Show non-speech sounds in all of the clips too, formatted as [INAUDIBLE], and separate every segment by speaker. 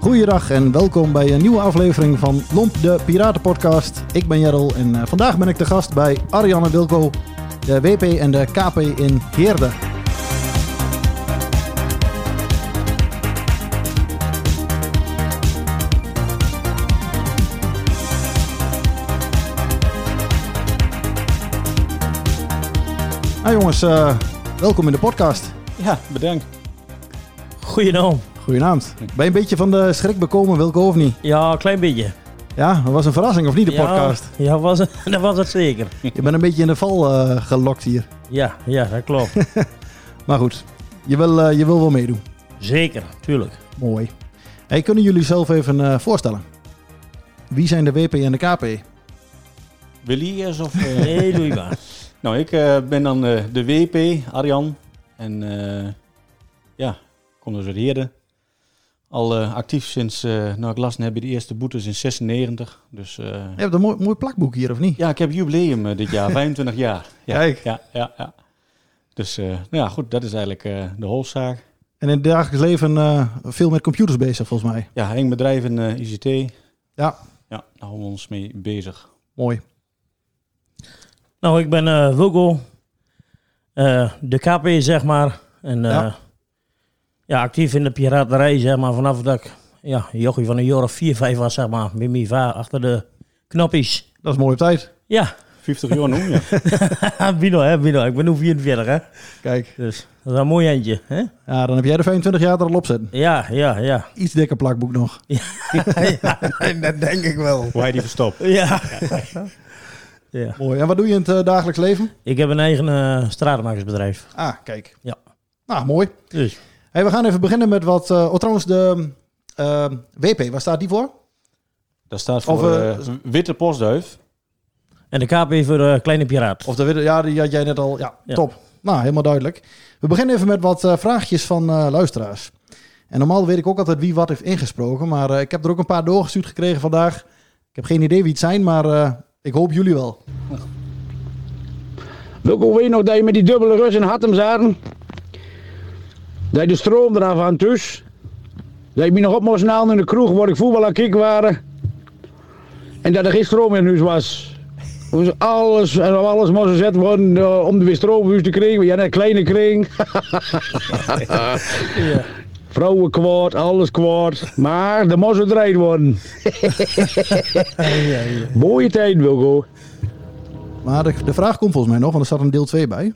Speaker 1: Goeiedag en welkom bij een nieuwe aflevering van Lomp de Piratenpodcast. Ik ben Jarl en eh, vandaag ben ik de gast bij Ariane Wilco, de WP en de KP in Heerde. Nou jongens, eh, welkom in de podcast.
Speaker 2: Ja, bedankt. Goedenavond.
Speaker 1: Goedenavond. Ben je een beetje van de schrik bekomen, Wilco of niet?
Speaker 2: Ja, een klein beetje.
Speaker 1: Ja, dat was een verrassing of niet de
Speaker 2: ja,
Speaker 1: podcast?
Speaker 2: Ja, was, dat was het [LAUGHS] zeker.
Speaker 1: Je bent een beetje in de val eh, gelokt hier.
Speaker 2: Ja, ja dat klopt. [LAUGHS]
Speaker 1: Maar goed, je wil, eh, je wil wel meedoen.
Speaker 2: zeker, tuurlijk.
Speaker 1: Mooi. Hey, kunnen jullie zelf even eh, voorstellen? Wie zijn de WP en de KP?
Speaker 3: Willy is of... eh?
Speaker 2: Nee, doe je maar.
Speaker 3: nou, ik eh, ben dan eh, de WP, Arjan. En eh, ja, kom dus uit Heerde. Al eh, actief sinds, eh nou ik las net bij de eerste boetes in 96. Dus eh,
Speaker 1: Je hebt een mooi, mooi plakboek hier, of niet?
Speaker 3: ja, ik heb jubileum eh, dit [LAUGHS] jaar, 25 jaar. Ja,
Speaker 1: Kijk.
Speaker 3: Ja, ja, ja. Dus eh, nou ja, goed, dat is eigenlijk eh, de holzaak.
Speaker 1: En in het dagelijks leven eh, veel met computers bezig, volgens mij.
Speaker 3: Ja, eng bedrijf in eh, ICT.
Speaker 1: Ja,
Speaker 3: Ja, daar houden we ons mee bezig.
Speaker 1: mooi.
Speaker 2: Nou, ik ben eh Wilco. Eh, de KP, zeg maar. En eh,
Speaker 1: Ja.
Speaker 2: ja. actief in de piraterij, zeg maar. Vanaf dat ik, ja, een jochie van een jaar of 4, 5 was, zeg maar. Met mijn vader achter de knopjes.
Speaker 1: Dat is mooi op tijd.
Speaker 2: Ja, [LAUGHS]
Speaker 3: 50 jaar noem [LAUGHS] je.
Speaker 2: Bino, hè, Bino. Ik ben nu 44, hè.
Speaker 1: Kijk,
Speaker 2: Dus dat is een mooi eindje, hè.
Speaker 1: ja, dan heb jij de 25 jaar er al op zitten.
Speaker 2: Ja, ja, ja.
Speaker 1: Iets dikker plakboek
Speaker 2: [LAUGHS]
Speaker 1: nog.
Speaker 2: dat denk ik wel.
Speaker 3: Hoe hij die verstopt.
Speaker 2: Ja. [LAUGHS] ja.
Speaker 1: Mooi. En wat doe je in het eh, dagelijks leven?
Speaker 2: Ik heb een eigen eh, stratenmakersbedrijf.
Speaker 1: Ah, kijk.
Speaker 2: Ja.
Speaker 1: Nou, mooi.
Speaker 2: Dus
Speaker 1: Hey, we gaan even beginnen met wat... eh, oh, trouwens, de eh, WP, waar staat die voor?
Speaker 3: Dat staat voor
Speaker 1: Of, eh,
Speaker 3: eh, witte postduif.
Speaker 2: En de KP voor eh, Kleine Piraat.
Speaker 1: Of de witte, ja, die had jij net al. Ja,
Speaker 2: Ja.
Speaker 1: top. Nou, helemaal duidelijk. We beginnen even met wat eh, vraagjes van eh, luisteraars. En normaal weet ik ook altijd wie wat heeft ingesproken. Maar eh, ik heb er ook een paar doorgestuurd gekregen vandaag. Ik heb geen idee wie het zijn, maar eh, ik hoop jullie wel.
Speaker 4: Wilco, weet je nog dat je met die dubbele Rus in Hattem zaten? Dat je de stroom eraf aan thuis. Dat je me nog op moest halen in de kroeg waar ik voetbal aan kijk waren. En dat er geen stroom in huis was. Dus alles en op alles moest gezet worden eh, om er weer stroom in huis te krijgen. Ja, een kleine kring. Vrouwen kwaad, alles kwaad. Maar er moest gedraaid worden. Mooie tijd, Wilco.
Speaker 1: Maar de, de vraag komt volgens mij nog, want er staat een deel 2 bij.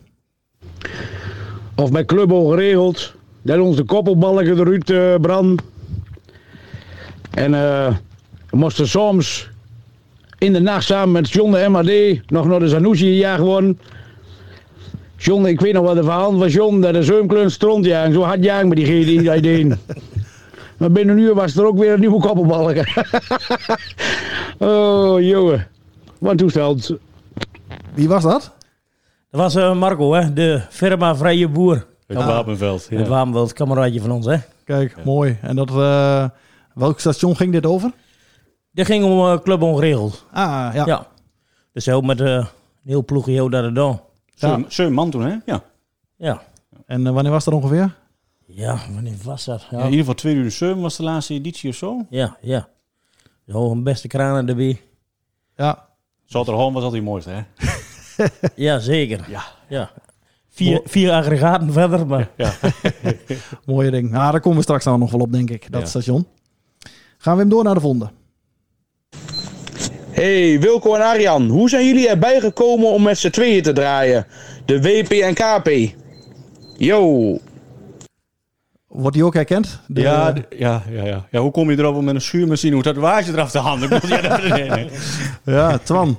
Speaker 4: of bij club al geregeld. Dat onze koppelbalken eruit eh branden. En eh we moesten soms in de nacht samen met John de MAD nog naar de Zanussi gejaagd worden. John, ik weet nog wat de verhaal was John, dat de zeumkleur stront jagen. Zo hard jagen met die GD die
Speaker 5: [LAUGHS]
Speaker 4: hij deed. Maar binnen een uur was er ook weer een nieuwe koppelbalken. [LAUGHS] oh jongen, wat een toestand.
Speaker 1: Wie was dat?
Speaker 2: Dat was eh, Marco, hè? de firma Vrije Boer.
Speaker 3: Het Wapenveld.
Speaker 2: Het
Speaker 3: Ja.
Speaker 2: Waamweld, kameraadje van ons. Hè?
Speaker 1: Kijk, mooi. En dat, eh, welk station ging dit over?
Speaker 2: Dit ging om eh, Club Ongeregeld.
Speaker 1: Ah, ja.
Speaker 2: Ja. Dus heel met eh, een heel ploegje heel daar en dan.
Speaker 3: Zeun- Zeun man toen, hè? Ja.
Speaker 2: Ja.
Speaker 1: En eh, wanneer was dat ongeveer?
Speaker 2: Ja, wanneer was dat? Ja,
Speaker 3: Ja, in
Speaker 2: ja.
Speaker 3: ieder geval 2007 was de laatste editie of zo.
Speaker 2: ja, Zo een beste kranen erbij.
Speaker 1: Ja.
Speaker 3: Zotterholm was altijd mooi, hè?
Speaker 2: Ja, zeker.
Speaker 3: Ja.
Speaker 2: ja. Vier, vier aggregaten verder, maar...
Speaker 1: Mooie ding. Nou, daar komen we straks nou nog wel op, denk ik. Dat
Speaker 3: Ja.
Speaker 1: station. Gaan we hem door naar de volgende.
Speaker 4: Hey Wilco en Arjan, hoe zijn jullie erbij gekomen om met z'n tweeën te draaien? De WP en KP. Yo.
Speaker 1: Wordt die ook herkend? De- eh,
Speaker 3: Ja, d- ja, ja, ja. ja. Hoe kom je erop om met een schuurmachine hoe tatoeage eraf te handen? Ik bedoel, ja, dat- [LAUGHS] nee, nee.
Speaker 1: ja,
Speaker 3: [LAUGHS]
Speaker 1: Twan.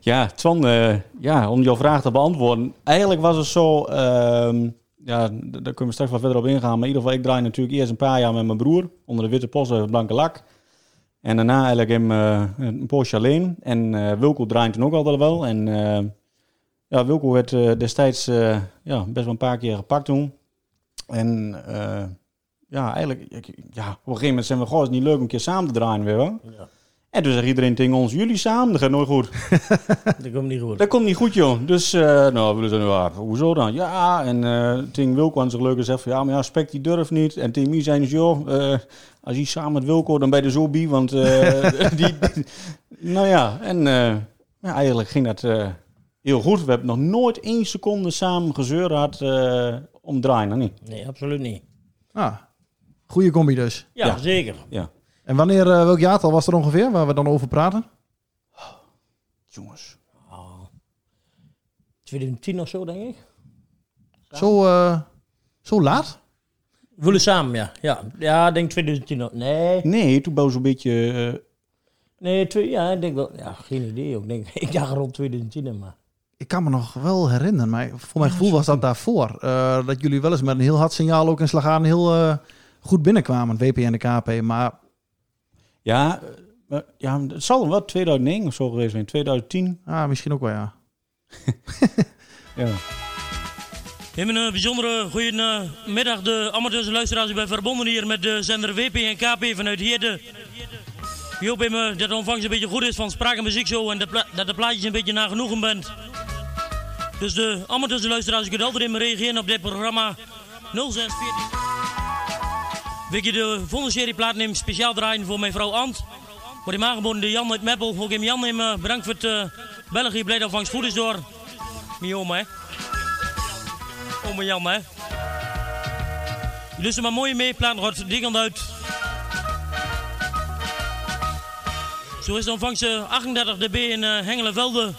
Speaker 3: ja, Twan, eh, ja, om jouw vraag te beantwoorden. Eigenlijk was het zo, ehm, ja, d- daar kunnen we straks wel verder op ingaan. Maar in ieder geval, ik draai natuurlijk eerst een paar jaar met mijn broer. Onder de witte post en blanke lak. En daarna eigenlijk hem eh, een poosje alleen. En eh, Wilco draait toen ook altijd wel. En eh, ja, Wilco werd eh, destijds eh, ja, best wel een paar keer gepakt toen. En eh, ja, eigenlijk, ik- ja, op een gegeven moment zijn we, goh, is het niet leuk om een keer samen te draaien weer wel.
Speaker 2: Ja.
Speaker 3: En toen zegt iedereen tegen ons, jullie samen, dat gaat nooit goed.
Speaker 2: Dat komt niet goed.
Speaker 3: Dat komt niet goed, joh. Dus, eh, nou, we zijn waar. Hoezo dan? Ja, en eh Ting Wilco aan zijn leuke zegt van, ja, maar ja, Spek die durft niet. En Tim Mie zei dus, joh, eh, als je samen met Wilco, dan ben je de zombie, want eh, [LAUGHS] die, die- Nou ja, en eh, ja, eigenlijk ging dat eh, heel goed. We hebben nog nooit één seconde samen gezeur gehad eh, om draaien, nog niet?
Speaker 2: Nee, absoluut niet.
Speaker 1: Ah, goede combi dus.
Speaker 2: Ja,
Speaker 3: Ja.
Speaker 2: zeker.
Speaker 3: Ja.
Speaker 1: En wanneer, eh, welk jaartal was er ongeveer waar we dan over praten?
Speaker 3: Jongens.
Speaker 2: Oh. 2010 of zo, denk ik.
Speaker 1: Zo, eh, zo laat?
Speaker 2: We willen samen, ja. Ja, ja ik denk 2010. ook. Nee,
Speaker 3: Nee, toen was zo'n beetje... eh,
Speaker 2: nee twee, ja, ik denk wel. Ja, geen idee. ook. Ik, denk, [LAUGHS] ik dacht rond 2010, in, maar...
Speaker 1: Ik kan me nog wel herinneren, maar voor mijn gevoel was dat daarvoor. eh, dat jullie wel eens met een heel hard signaal ook in Slagaan heel eh, goed binnenkwamen, WP en de KP. Maar
Speaker 3: ja, eh, maar- ja, het zal wel 2009 of zo geweest zijn, 2010.
Speaker 1: ah, misschien ook wel ja.
Speaker 3: Ja.
Speaker 6: Hebben een bijzondere goedemiddag, de amateurs en luisteraars. Ik ben verbonden hier met de zender WP en KP vanuit Heerde. Ik hoop even dat de ontvangst een beetje goed is van spraak en muziek zo en dat, pla- dat de plaatjes een beetje naar genoegen bent. Dus de amateurs en luisteraars, je kunt altijd in me reageren op dit programma 0614. Wil ik je de volgende serie plaat neem speciaal draaien voor mijn vrouw Ant. Wordt hem aangeboden door Jan uit Meppel. Ook hem Jan nemen. Bedankt voor het eh, bellen. Hier blij dat ontvangst goed is door. Mijn oma, hè. Ome Jan, hè? Jullie zijn maar mooi mee, plaat rot dingend uit. Zo is de ontvangst eh, 38 dB in eh, Hengelenvelde.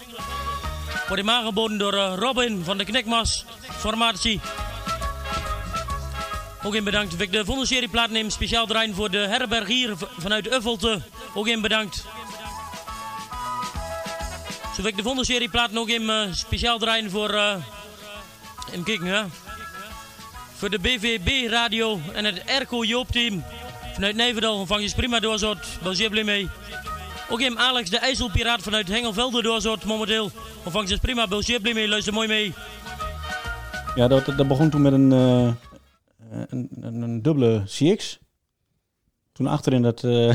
Speaker 6: Wordt hem aangeboden door eh, Robin van de Knikmas Formatie. Ook in bedankt. Wil ik de volgende serie plaat neem, speciaal draaien voor de herbergier v- vanuit Uffelte. Ook in bedankt. Zo wil ik de volgende serie plaat nog in eh, speciaal draaien voor... eh, Even kijken, hè. Voor de BVB Radio en het Erco Joop Team. Vanuit Nijverdal ontvang je prima doorzort. België blij mee. Ook hem Alex de IJsselpiraat vanuit Hengelvelde doorzort momenteel. Ontvang je prima, België blij mee. Luister mooi mee.
Speaker 3: Ja, dat, dat begon toen met een, eh, een, een, een dubbele CX. Toen achter in dat, eh,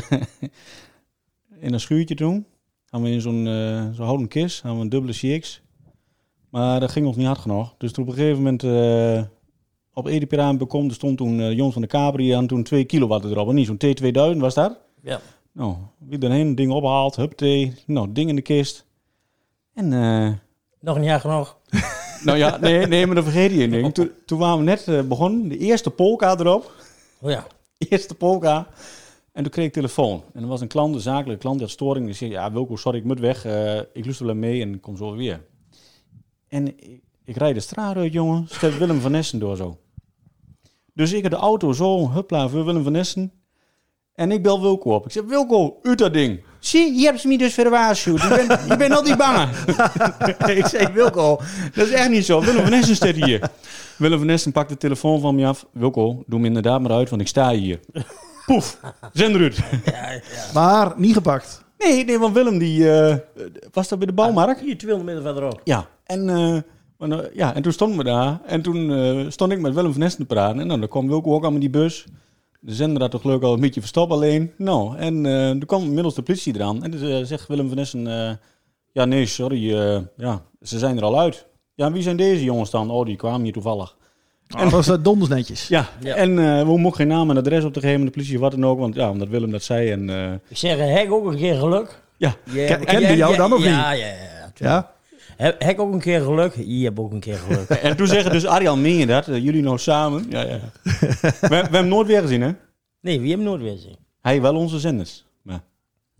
Speaker 3: [LAUGHS] in dat schuurtje toen, hadden we in zo'n eh, zo'n houten kist, hadden we een dubbele CX. Maar dat ging ons niet hard genoeg. Dus toen op een gegeven moment eh, op Edipiraan bekom, er stond toen eh, Jons van de Cabri aan toen 2 kilowatt erop. En niet zo'n T2000 was dat.
Speaker 2: Ja.
Speaker 3: Nou, wie erheen, ding ophaalt, huppatee, nou, ding in de kist. En... eh,
Speaker 2: Nog een jaar genoeg.
Speaker 3: nou ja, nee, nee maar dan vergeet je één ding. Toen, toen waren we net eh, begonnen, de eerste polka erop.
Speaker 2: Oh ja.
Speaker 3: [LAUGHS] Eerste polka. En toen kreeg ik telefoon. En er was een klant, een zakelijke klant, die had storing. Die zei, ja Wilco, sorry, ik moet weg. Eh, ik luister wel mee en ik kom zo weer. En ik, ik rijd de straat uit, jongen. Stelt Willem van Nessen door zo. Dus ik heb de auto zo, huppla, voor Willem van Nessen. En ik bel Wilco op. Ik zeg, Wilco, uit dat ding. Zie, je hebt ze me dus voor de waarschuwd. Je bent, je bent al die bangen. [LAUGHS] ik zeg, Wilco, dat is echt niet zo. Willem van Nessen staat hier. Willem van Nessen pakt de telefoon van me af. Wilco, doe me inderdaad maar uit, want ik sta hier. Poef, zender uit.
Speaker 1: Maar niet gepakt.
Speaker 3: Nee, nee, want Willem die... eh, was dat bij de bouwmarkt?
Speaker 2: Hier 200 meter verderop.
Speaker 3: Ja. En, eh, maar nou, ja, en toen stonden we daar. En toen eh, stond ik met Willem van Nesten te praten. En nou, dan kwam Wilco ook aan met die bus. De zender had toch leuk al een beetje verstopt alleen. Nou, en eh toen kwam inmiddels de politie eraan. En dus, eh, zegt Willem van Nesten... eh, ja, nee, sorry. eh, ja, ze zijn er al uit. Ja, wie zijn deze jongens dan? Oh, die kwamen hier toevallig.
Speaker 1: Oh, dat was eh, donders netjes.
Speaker 3: Ja,
Speaker 2: Ja.
Speaker 3: en eh, we mochten geen naam en adres op te geven. De politie of wat dan ook. Want ja, omdat Willem dat zei. En, eh,
Speaker 2: Ik zeg, eh, Hek ook een keer geluk.
Speaker 3: ja,
Speaker 1: Ken- kende jou dan of
Speaker 2: nog
Speaker 1: niet?
Speaker 2: Ja, ja, ja. ja.
Speaker 1: Ja?
Speaker 2: He- Hek ook een keer geluk. Je hebt ook een keer geluk. [LAUGHS]
Speaker 3: En toen zeggen dus, Arjan, meen je dat? Eh, jullie nou samen? Ja, ja. we, we hebben hem nooit weer gezien, hè?
Speaker 2: Nee, wie hem nooit weer zien.
Speaker 3: Hij wel onze zenders. Maar,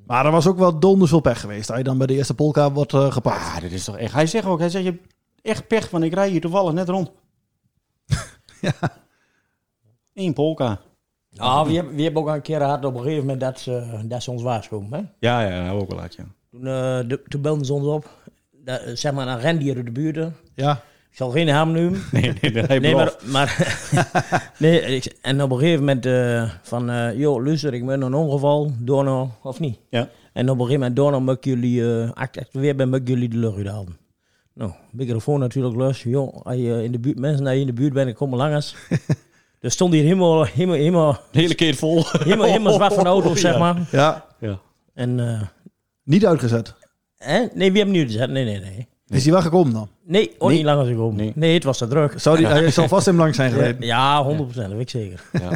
Speaker 1: Maar er was ook wel donders veel pech geweest. Als je dan bij de eerste polka wordt eh, gepakt.
Speaker 3: ah, dit is toch echt... Hij zegt ook, hij zegt, je hebt echt pech, want ik rij hier toevallig net [LAUGHS] rond. ja. Eén polka.
Speaker 2: Ah, wie hebben heb ook een keer gehad op een gegeven moment dat ze, dat ze ons waarschuwen. Hè?
Speaker 3: Ja, ja, dat ook wel uit, ja. [LAUGHS]
Speaker 2: Toen, eh, de, toen belden ze ons op. Dat, eh, zeg maar een rendier uit de buurt.
Speaker 1: Ja.
Speaker 2: Ik zal geen naam noemen.
Speaker 3: Nee, nee, nee, hij
Speaker 2: Nee, maar,
Speaker 3: belooft.
Speaker 2: maar [LAUGHS] nee, ik- en op een gegeven moment eh, van, eh joh, luister, ik ben in een ongeval, door nou, of niet?
Speaker 3: Ja.
Speaker 2: En op een gegeven moment daarna moet ik jullie, eh, act, act, weer ben ik jullie de lucht uithalen. Nou, microfoon natuurlijk los. Joh, als je in de buurt, mensen naar je in de buurt bent, komen langs. dus stond hier helemaal, helemaal, helemaal,
Speaker 3: De hele keer [LAUGHS] vol.
Speaker 2: helemaal, helemaal zwart van de auto, zeg
Speaker 3: Ja.
Speaker 2: maar.
Speaker 1: Ja,
Speaker 3: Ja.
Speaker 2: En, eh,
Speaker 1: niet uitgezet.
Speaker 2: hè? nee, wie hebben nu gezet? Nee, nee, nee.
Speaker 1: Is hij wel gekomen dan?
Speaker 2: Nee, oh,
Speaker 3: Nee.
Speaker 2: niet langer gekomen. Nee.
Speaker 3: Nee.
Speaker 2: het was te druk.
Speaker 1: Zou die, Hij zal vast hem lang zijn gereden.
Speaker 2: Ja, 100%, dat weet ik zeker.
Speaker 3: Ja.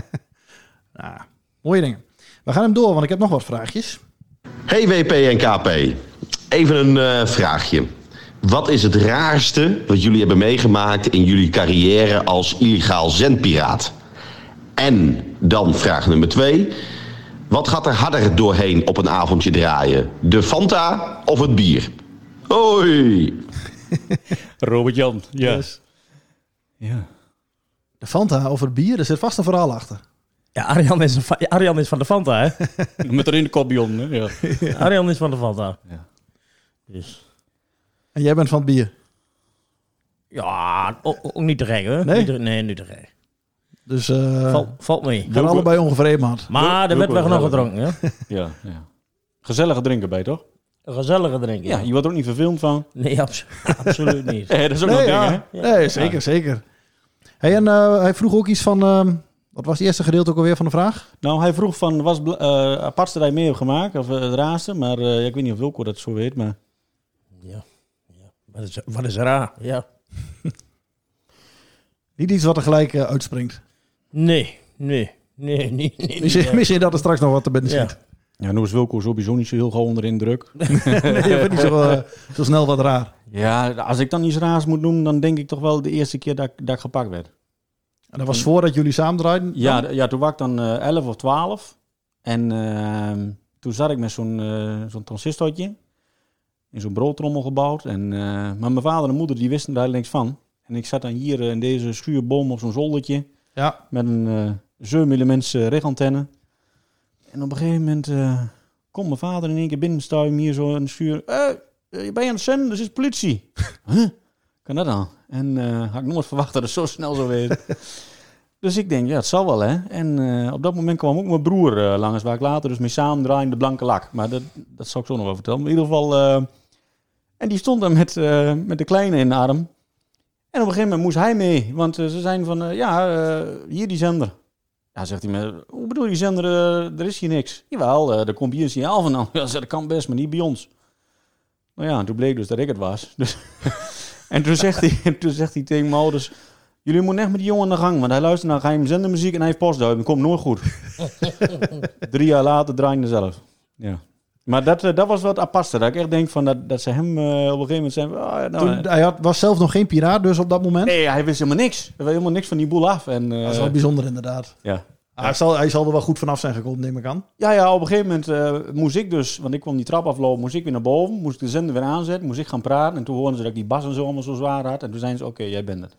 Speaker 1: Nou, mooie dingen. We gaan hem door, want ik heb nog wat vraagjes.
Speaker 7: Hey WP en KP, even een eh, vraagje. Wat is het raarste wat jullie hebben meegemaakt in jullie carrière als illegaal zendpiraat? En dan vraag nummer twee. Wat gaat er harder doorheen op een avondje draaien? De Fanta of het bier? Hoi!
Speaker 3: Robert Jan. Ja. ja.
Speaker 1: De Fanta over het bier, er zit vast een verhaal achter.
Speaker 2: Ja, Arjan is, een fa- Arjan is van de Fanta, [LAUGHS] hè?
Speaker 3: Met erin de Corbion. Hè? Ja.
Speaker 2: Arjan is van de Fanta.
Speaker 3: Ja.
Speaker 2: Dus,
Speaker 1: En jij bent van het bier.
Speaker 2: ja, ook, ook niet te gek, hè?
Speaker 1: Nee?
Speaker 2: Niet te- nee, niet te gek.
Speaker 1: Dus eh
Speaker 2: Valt, valt mee.
Speaker 1: gaan allebei ongevreden, man.
Speaker 2: Maar er
Speaker 3: doe
Speaker 2: werd
Speaker 3: ik
Speaker 2: wel
Speaker 3: ook
Speaker 2: nog
Speaker 3: wel.
Speaker 2: gedronken, hè?
Speaker 3: ja, ja. Gezellige drinken bij, toch?
Speaker 2: Een gezellige drinken.
Speaker 3: Ja, je wordt er ook niet vervelend [LAUGHS] van.
Speaker 2: Nee, abso- [LAUGHS] absoluut niet.
Speaker 3: Eh, dat is ook
Speaker 1: Nee,
Speaker 3: nog een
Speaker 1: ja.
Speaker 3: ding,
Speaker 1: nee zeker, zeker. Hey, en eh, hij vroeg ook iets van... ehm, wat was het eerste gedeelte ook alweer van de vraag?
Speaker 3: hè? Nou, hij vroeg van, was het apartste dat je mee hebt gemaakt? Of eh, het raarste? Maar eh, ja, ik weet niet of Wilco dat zo weet, maar...
Speaker 2: Wat is, wat is raar, ja.
Speaker 1: Niet iets wat er gelijk eh, uitspringt.
Speaker 2: Nee, nee, nee, nee, nee. nee,
Speaker 1: Misschien, misschien dat er straks nog wat te binnen
Speaker 2: Ja.
Speaker 1: zit.
Speaker 3: Ja, nu is Wilco sowieso niet zo heel gauw onder indruk.
Speaker 1: Nee, [LAUGHS] je vindt niet zo, eh, zo snel wat raar.
Speaker 3: Ja, als ik dan iets raars moet noemen, dan denk ik toch wel de eerste keer dat, ik- dat ik gepakt werd.
Speaker 1: En dat was voordat jullie samen draaiden?
Speaker 3: Ja, d- ja toen was ik dan eh 11 of 12. En ehm, toen zat ik met zo'n eh, zo'n transistortje. In zo'n broodtrommel gebouwd. En, eh, maar mijn vader en moeder die wisten daar niks van. En ik zat dan hier eh, in deze schuurboom op zo'n zoldertje.
Speaker 1: Ja.
Speaker 3: Met een eh 7 mm regantenne. En op een gegeven moment eh komt mijn vader in één keer binnenstuimen hier zo in de schuur. Hé, je ben je aan het zenden? Er is politie. huh? Kan dat dan? En eh, had ik nooit verwacht dat het zo snel zou wezen. dus ik denk, ja, het zal wel hè. En eh, op dat moment kwam ook mijn broer eh, langs waar ik later dus mee samen draai in de blanke lak. Maar dat, dat zal ik zo nog wel vertellen. Maar in ieder geval... eh, en die stond dan met, eh, met de kleine in de arm. En op een gegeven moment moest hij mee, want eh, ze zijn van, eh, ja, eh, hier die zender. Ja, zegt hij, maar hoe bedoel je zender, eh, er is hier niks. Jawel, eh er komt hier een signaal vandaan. [LAUGHS] Ja, ze, dat kan best, maar niet bij ons. Nou ja, toen bleek dus dat ik het was. [LAUGHS] Dus en toen zegt, hij, [LAUGHS] toen zegt hij tegen mijn ouders, jullie moeten echt met die jongen aan de gang, want hij luistert naar geheim zendermuziek en hij heeft postduim, dat komt nooit goed. [LAUGHS] Drie jaar later draai ik er zelf. Ja. Maar dat, eh, dat was wat aparte, dat ik echt denk van dat, dat ze hem eh, op een gegeven moment zijn. ah, nou,
Speaker 1: Toen, hij had, was zelf nog geen piraat dus op dat moment.
Speaker 3: Nee, hij wist helemaal niks. Hij weet helemaal niks van die boel af. En, eh,
Speaker 1: Dat is wel bijzonder inderdaad.
Speaker 3: ja.
Speaker 1: Hij, zal, hij zal er wel goed vanaf zijn gekomen, neem ik aan.
Speaker 3: Ja, ja, op een gegeven moment eh, moest ik dus, want ik kwam die trap aflopen, moest ik weer naar boven, moest ik de zender weer aanzetten, moest ik gaan praten. En toen hoorden ze dat ik die bas en zo allemaal zo zwaar had. En toen zeiden ze, oké, jij bent het.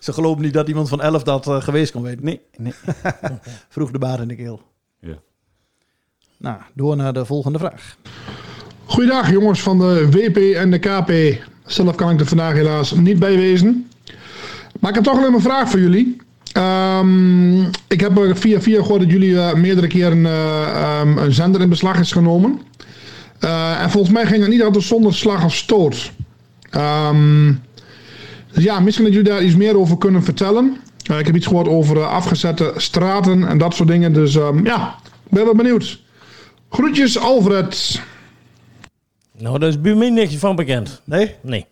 Speaker 1: Ze geloven niet dat iemand van 11 dat eh, geweest kon weten.
Speaker 3: Nee, nee.
Speaker 1: Vroeg de baard in de keel.
Speaker 3: Ja.
Speaker 1: Nou, door naar de volgende vraag.
Speaker 5: Goeiedag jongens van de WP en de KP. Zelf kan ik er vandaag helaas niet bij wezen. Maar ik heb toch alleen een vraag voor jullie. Ehm, ik heb eh, via via gehoord dat jullie eh, meerdere keren eh, ehm, een zender in beslag is genomen. Eh, en volgens mij ging dat niet altijd zonder slag of stoot. Ehm, dus ja, misschien dat jullie daar iets meer over kunnen vertellen. Eh, ik heb iets gehoord over eh, afgezette straten en dat soort dingen. Dus ehm, ja, ik ben wel benieuwd. Groetjes Alfred.
Speaker 2: Nou, daar is bij mij niks van bekend.
Speaker 1: Nee?
Speaker 2: Nee.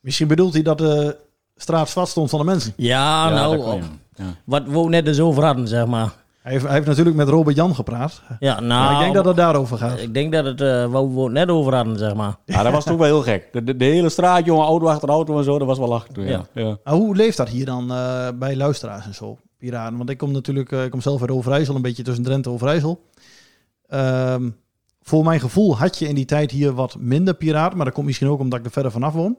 Speaker 1: Misschien bedoelt hij dat de straat vast stond van de mensen.
Speaker 2: Ja,
Speaker 3: Ja,
Speaker 2: nou,
Speaker 3: dat kan, ja. Ja.
Speaker 2: wat we ook net eens over hadden, zeg maar.
Speaker 1: Hij heeft, hij heeft natuurlijk met Robert Jan gepraat.
Speaker 2: Ja, nou,
Speaker 1: Maar ik denk dat het daarover gaat.
Speaker 2: ik denk dat het, eh, waar we het net over hadden, zeg maar.
Speaker 3: Ja, dat was toch wel heel gek. De, de, de hele straat, jongen, auto achter auto en zo, dat was wel lachen. toen, Ja. Ja.
Speaker 1: Maar Ah, hoe leeft dat hier dan eh, bij luisteraars en zo? Piraten. Want ik kom natuurlijk, eh, ik kom zelf uit Overijssel, een beetje tussen Drenthe en Overijssel. Ehm, voor mijn gevoel had je in die tijd hier wat minder piraten, maar dat komt misschien ook omdat ik er verder vanaf woon.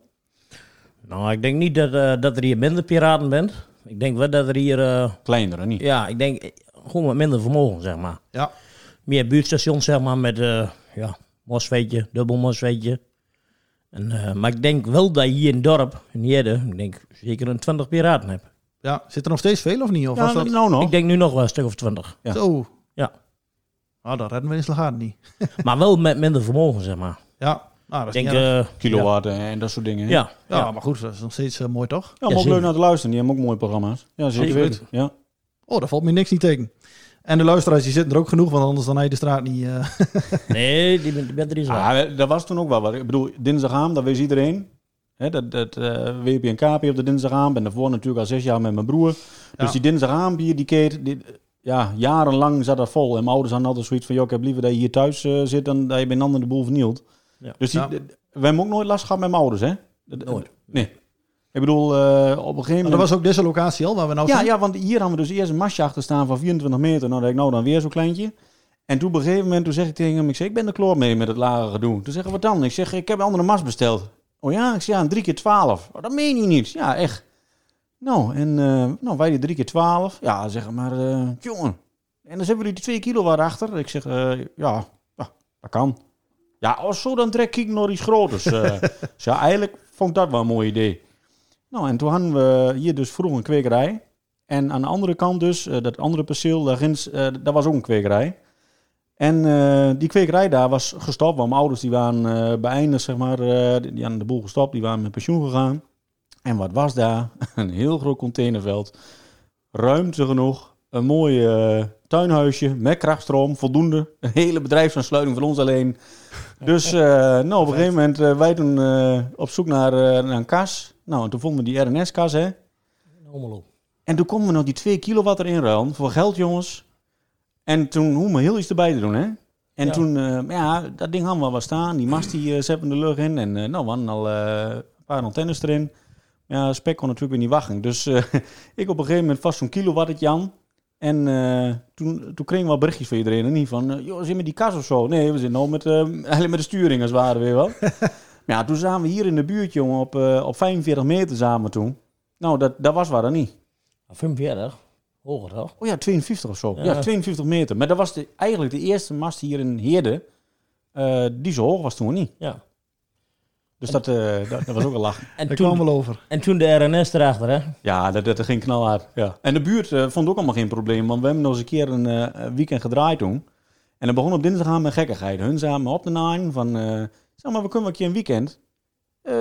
Speaker 2: Nou, ik denk niet dat, eh, dat er hier minder piraten bent. Ik denk wel dat er hier, eh,
Speaker 3: Kleinere, niet?
Speaker 2: ja, ik denk eh, gewoon wat minder vermogen, zeg maar.
Speaker 1: Ja.
Speaker 2: Meer buurtstations, zeg maar, met, eh ja, mosfeetje, dubbel mosfeetje. En, eh, maar ik denk wel dat je hier in het dorp, in Jerde, ik denk zeker een 20 piraten hebt.
Speaker 1: Ja, zit er nog steeds veel of niet? Of was dat...
Speaker 3: nou nog.
Speaker 2: Ik denk nu nog wel een stuk of 20.
Speaker 3: ja.
Speaker 1: Zo.
Speaker 2: Ja.
Speaker 1: Nou, dat redden we in Slagaat niet.
Speaker 2: Maar wel met minder vermogen, zeg maar.
Speaker 1: Ja, nou, dat
Speaker 2: Ik
Speaker 1: is
Speaker 2: denk,
Speaker 1: niet erg.
Speaker 2: eh,
Speaker 3: Kilowatt eh, en dat soort dingen.
Speaker 2: ja.
Speaker 3: hè?
Speaker 2: Ja,
Speaker 1: ja, maar goed, dat is nog steeds eh, mooi toch?
Speaker 3: Ja, maar ook
Speaker 2: zeker.
Speaker 3: leuk naar te luisteren. Die hebben ook mooie programma's. Ja, zeker
Speaker 2: Absoluut.
Speaker 3: weten. Ja.
Speaker 1: Oh, daar valt me niks niet tegen. En de luisteraars die zitten er ook genoeg, want anders dan hij de straat niet. eh, [LAUGHS]
Speaker 2: Nee, die, bent- die bent er niet zo.
Speaker 3: Ah, we- dat was toen ook wel wat. Ik bedoel, dinsdagavond, dat wees iedereen. Hè, dat dat eh, WP en KP op de dinsdagavond. Ben daarvoor natuurlijk al zes jaar met mijn broer. Dus
Speaker 1: Ja.
Speaker 3: die dinsdagavond hier, die keer... Die, ja, jarenlang zat dat vol. En mijn ouders hadden altijd zoiets van... joh, ik heb liever dat je hier thuis eh, zit dan dat je bij een ander de boel vernielt.
Speaker 2: Ja.
Speaker 3: Dus die,
Speaker 1: Ja.
Speaker 3: d- we hebben ook nooit last gehad met mijn ouders, hè? Dat-
Speaker 2: Nooit.
Speaker 3: Nee. Ik bedoel, eh, op een gegeven
Speaker 1: maar
Speaker 3: moment...
Speaker 1: dat was ook deze locatie al waar we nou
Speaker 3: Ja,
Speaker 1: zijn.
Speaker 3: ja, want hier hadden we dus eerst een masje achter staan van 24 meter. Nou, dat ik nou dan weer zo'n kleintje. En toen op een gegeven moment toen zeg ik tegen hem, ik, zeg, ik ben de kloor mee met het lage gedoe. Toen zeggen we wat dan? Ik zeg, ik heb een andere mas besteld. Oh ja, ik zeg, ja, een 3 keer 12. Oh, dat meen je niet. Ja, echt. Nou, en eh, nou, wij die 3 keer 12. Ja, zeg maar, eh, jongen. En dan hebben jullie die 2 kilo waar achter. Ik zeg, eh, ja, ja, dat kan. Ja, als zo, dan trek ik nog iets groters. eh. dus ja, eigenlijk vond ik dat wel een mooi idee. Nou, en toen hadden we hier dus vroeg een kwekerij. En aan de andere kant dus, eh, dat andere perceel, daar, ginds, eh, daar was ook een kwekerij. En eh, die kwekerij daar was gestopt, want mijn ouders die waren eh, beëindigd, zeg maar. eh, die, die hadden de boel gestopt, die waren met pensioen gegaan. En wat was daar? [LAUGHS] een heel groot containerveld. Ruimte genoeg, een mooi eh, tuinhuisje met krachtstroom, voldoende. Een hele bedrijfsaansluiting van ons alleen. Dus eh, nou, op een gegeven moment, eh, wij toen eh, op zoek naar, eh, naar een kas. Nou, en toen vonden we die RNS-kas, hè.
Speaker 2: Almelo.
Speaker 3: En toen konden we nog die 2 kilowatt erin ruilen voor geld, jongens. En toen hoe me heel iets erbij te doen, hè. En
Speaker 2: Ja.
Speaker 3: toen, eh, maar ja, dat ding hadden we wel staan. Die mast die eh, zetten we de lucht in. En eh, nou, we hadden al eh, een paar antennes erin. Maar Ja, spek kon natuurlijk weer niet wachten. Dus eh, [LAUGHS] ik op een gegeven moment vast zo'n kilowattetje aan. En eh, toen, toen kregen we wel berichtjes van iedereen. En niet van, eh, joh, zit met die kas of zo? Nee, we zitten al met, eh, [LAUGHS] alleen met de sturing als het ware weer wel. maar ja, toen zaten we hier in de buurt, jongen, op, eh, op 45 meter samen toen. Nou, dat, dat was waar dan niet.
Speaker 2: 45, hoger toch?
Speaker 3: Oh ja, 52 of zo. Ja,
Speaker 2: Ja.
Speaker 3: 52 meter. Maar dat was de, eigenlijk de eerste mast hier in Heerde. eh, die zo hoog was toen niet.
Speaker 2: Ja.
Speaker 3: Dus dat, eh, dat, dat was ook een lach.
Speaker 2: En
Speaker 1: Daar kwam
Speaker 2: toen,
Speaker 1: wel over.
Speaker 2: en toen de RNS erachter, hè?
Speaker 3: [LAUGHS] Ja, dat, dat ging knalhard. Ja. En de buurt eh, vond ook allemaal geen probleem. Want we hebben nog eens een keer een eh, weekend gedraaid toen. En dat begon op dinsdag aan met gekkigheid. Hun samen op de naaien van... eh, zeg maar, we kunnen wel een keer een weekend. Eh,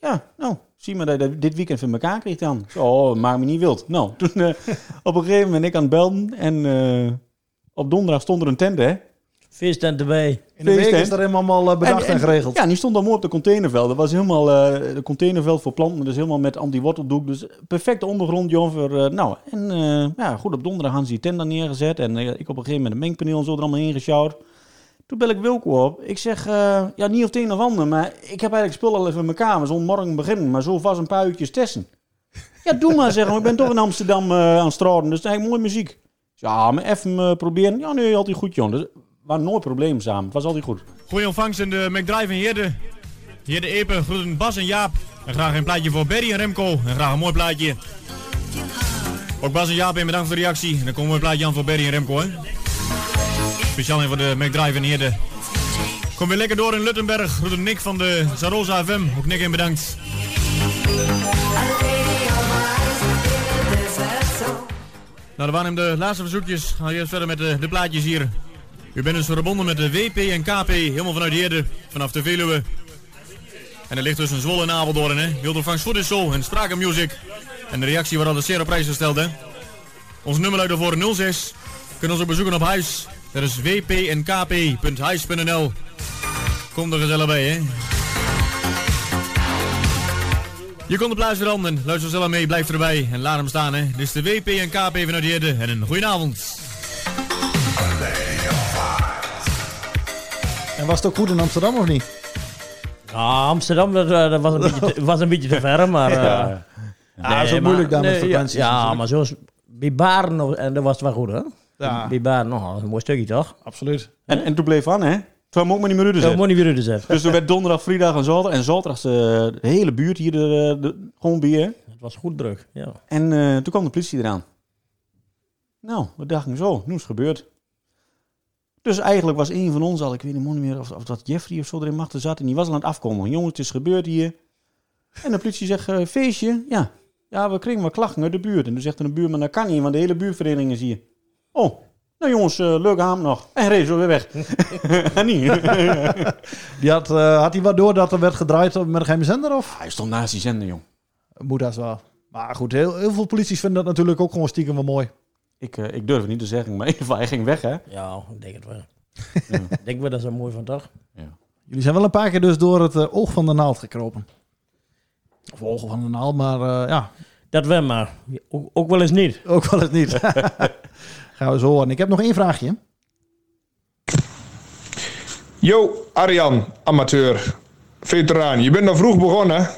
Speaker 3: ja, nou, zie maar dat je dat dit weekend van elkaar krijgt dan. Zo, oh, maak me niet wild. Nou, [LAUGHS] toen eh, op een gegeven moment ik aan het belden. En eh, op donderdag stond er een tent, hè.
Speaker 2: Feesttent erbij.
Speaker 1: In de
Speaker 3: feest,
Speaker 1: week
Speaker 3: hè?
Speaker 1: is er helemaal allemaal eh, bedacht en, geregeld.
Speaker 3: Ja, en die stond dan mooi op de containerveld. Dat was helemaal eh de containerveld voor planten. Dus helemaal met anti-worteldoek. Dus perfecte ondergrond, John. Voor, eh, nou, en eh, ja, goed, op donderdag hadden ze die tent dan neergezet. En eh, ik op een gegeven moment een mengpaneel en zo er allemaal in gesjouwd. Toen bel ik Wilco op. Ik zeg, eh, ja, niet of het een of ander, maar ik heb eigenlijk spullen al even in mijn kamer. Zo'n morgen beginnen, maar zo vast een paar uurtjes testen. Ja, doe maar, zeg maar. Ik ben toch in Amsterdam eh, aan het straten, dus het is eigenlijk mooie muziek. Ja, maar even eh, proberen. Ja, nee, altijd goed, John. Dus, we hadden nooit probleem samen. Het was altijd goed.
Speaker 8: Goeie ontvangst in de McDrive in Heerde. Heerde Epe, groeten Bas en Jaap. En graag een plaatje voor Berry en Remco. En graag een mooi plaatje. Ook Bas en Jaap, en bedankt voor de reactie. En dan komen we een plaatje aan voor Berry en Remco. Hè? Speciaal in voor de McDrive in Heerde. Kom weer lekker door in Luttenberg. Groeten Nick van de Zarosa FM. Ook Nick en bedankt. Nou, dat waren hem de laatste verzoekjes. Gaan we eerst verder met eh, de, de plaatjes hier. U bent dus verbonden met de WP en KP, helemaal vanuit Heerde, vanaf de Veluwe. En er ligt tussen Zwolle en Apeldoorn, hè. Wilde van Goed is zo en Sprake Music. En de reactie wordt altijd zeer op prijs gesteld, hè. Ons nummer luidt ervoor 06. Kunnen ons ook bezoeken op huis. Dat is wpnkp.huis.nl. Kom er gezellig bij, hè. Je komt de plaats veranderen. Luister zelf mee, blijf erbij en laat hem staan, hè. Dit is de WP en KP vanuit Heerde en een goeie avond.
Speaker 1: En was het ook goed in Amsterdam of niet?
Speaker 2: Ah, Amsterdam, dat, eh, dat was, een beetje te, [LAUGHS] was een beetje te ver, maar... eh,
Speaker 1: Ja, dat is ook moeilijk daar met
Speaker 2: nee, ja,
Speaker 1: vakanties
Speaker 2: Ja,
Speaker 1: natuurlijk.
Speaker 2: maar zoals bij Baren, nog- en dat was het wel goed, hè?
Speaker 1: Ja.
Speaker 2: Bij Baren, nog een mooi stukje, toch?
Speaker 1: Absoluut.
Speaker 3: En, en toen bleef aan, hè? Toen hebben we ook maar niet meer Ruud
Speaker 2: Dat moet niet weer dus even.
Speaker 3: Dus er werd donderdag, vrijdag en zaterdag. En zaterdag eh, de hele buurt hier de, de, gewoon bier.
Speaker 2: Het was goed druk, ja.
Speaker 3: En eh, toen kwam de politie eraan. Nou, we dachten zo, nu is het gebeurd. Dus eigenlijk was een van ons al, ik weet niet meer of, of dat Jeffrey of zo erin machten zat. En die was al aan het afkomen. Jongens, het is gebeurd hier. En de politie zegt, eh, feestje? Ja. Ja, we kregen wat klachten uit de buurt. En toen zegt een buurman, dat kan niet, want de hele buurtvereniging is hier. Oh, nou jongens, eh, leuke avond nog. En reden zo weer weg. [LAUGHS] niet.
Speaker 1: Die had, eh, had hij wat door dat er werd gedraaid op- met een geheime zender? Of?
Speaker 3: Hij stond naast die zender, jong.
Speaker 1: Moet dat wel. Maar goed, heel, heel veel polities vinden dat natuurlijk ook gewoon stiekem wel mooi.
Speaker 3: Ik, eh, ik durf het niet te zeggen, maar [LAUGHS] in ieder geval, hij ging weg, hè?
Speaker 2: Ja, ik denk het wel. [LAUGHS] Ik denk wel dat ze mooi van dag.
Speaker 1: Jullie zijn wel een paar keer dus door het eh, oog van de naald gekropen. Of oog van de naald, maar eh, ja, [LAUGHS]
Speaker 2: Dat wel, maar ook, ook wel eens niet.
Speaker 1: ook wel eens niet. [LAUGHS] Gaan we zo horen. Ik heb nog één vraagje.
Speaker 9: Yo, Arjan, amateur, veteraan. Je bent al vroeg begonnen.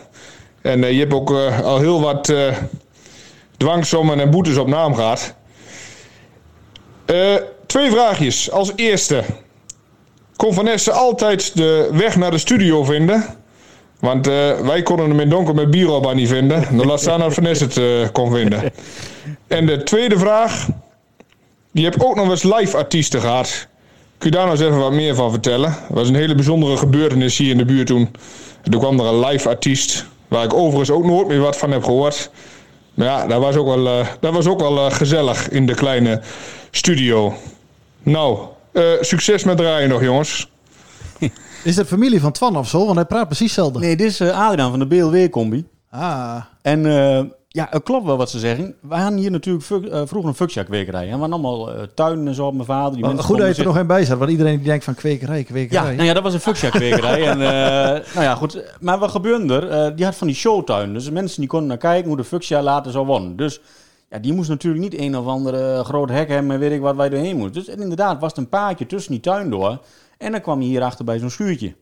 Speaker 9: En eh, je hebt ook eh, al heel wat eh dwangsommen en boetes op naam gehad. Eh, twee vraagjes. Als eerste. Kon Van Essen altijd de weg naar de studio vinden? Want eh, wij konden hem in donker met bier op aan niet vinden. Dan laat staan dat Van Essen het eh, kon vinden. En de tweede vraag. Je hebt ook nog eens live artiesten gehad. Kun je daar nou eens even wat meer van vertellen? Het was een hele bijzondere gebeurtenis hier in de buurt toen. En toen kwam er een live artiest, waar ik overigens ook nooit meer wat van heb gehoord. Maar ja, dat was ook wel, eh, dat was ook wel eh, gezellig in de kleine studio. Nou, eh, succes met draaien nog jongens.
Speaker 1: Is het familie van Twan of zo? Want hij praat precies hetzelfde.
Speaker 3: Nee, dit is eh, Adriaan van de BLW-combi.
Speaker 1: Ah,
Speaker 3: En eh, ja, het klopt wel wat ze zeggen. Wij hadden hier natuurlijk fuck- eh, vroeger een fuckjackwekerij. hè. We hadden allemaal eh, tuinen en zo op mijn vader. Die
Speaker 1: wel
Speaker 3: mensen
Speaker 1: goed dat je er
Speaker 3: konden
Speaker 1: nog een bij zat. Want iedereen die denkt van kwekerij,
Speaker 3: Ja,
Speaker 1: kwekerij.
Speaker 3: nou ja, dat was een fuckjackwekerij. en, eh, nou ja, goed. Maar wat gebeurde er? Eh, die had van die showtuin. Dus de mensen die konden naar kijken hoe de fuchsia later zou wonnen. Dus ja, die moest natuurlijk niet een of andere groot hek hebben en weet ik wat wij doorheen moesten. Dus en inderdaad was het een paadje tussen die tuin door. En dan kwam je hierachter bij zo'n schuurtje.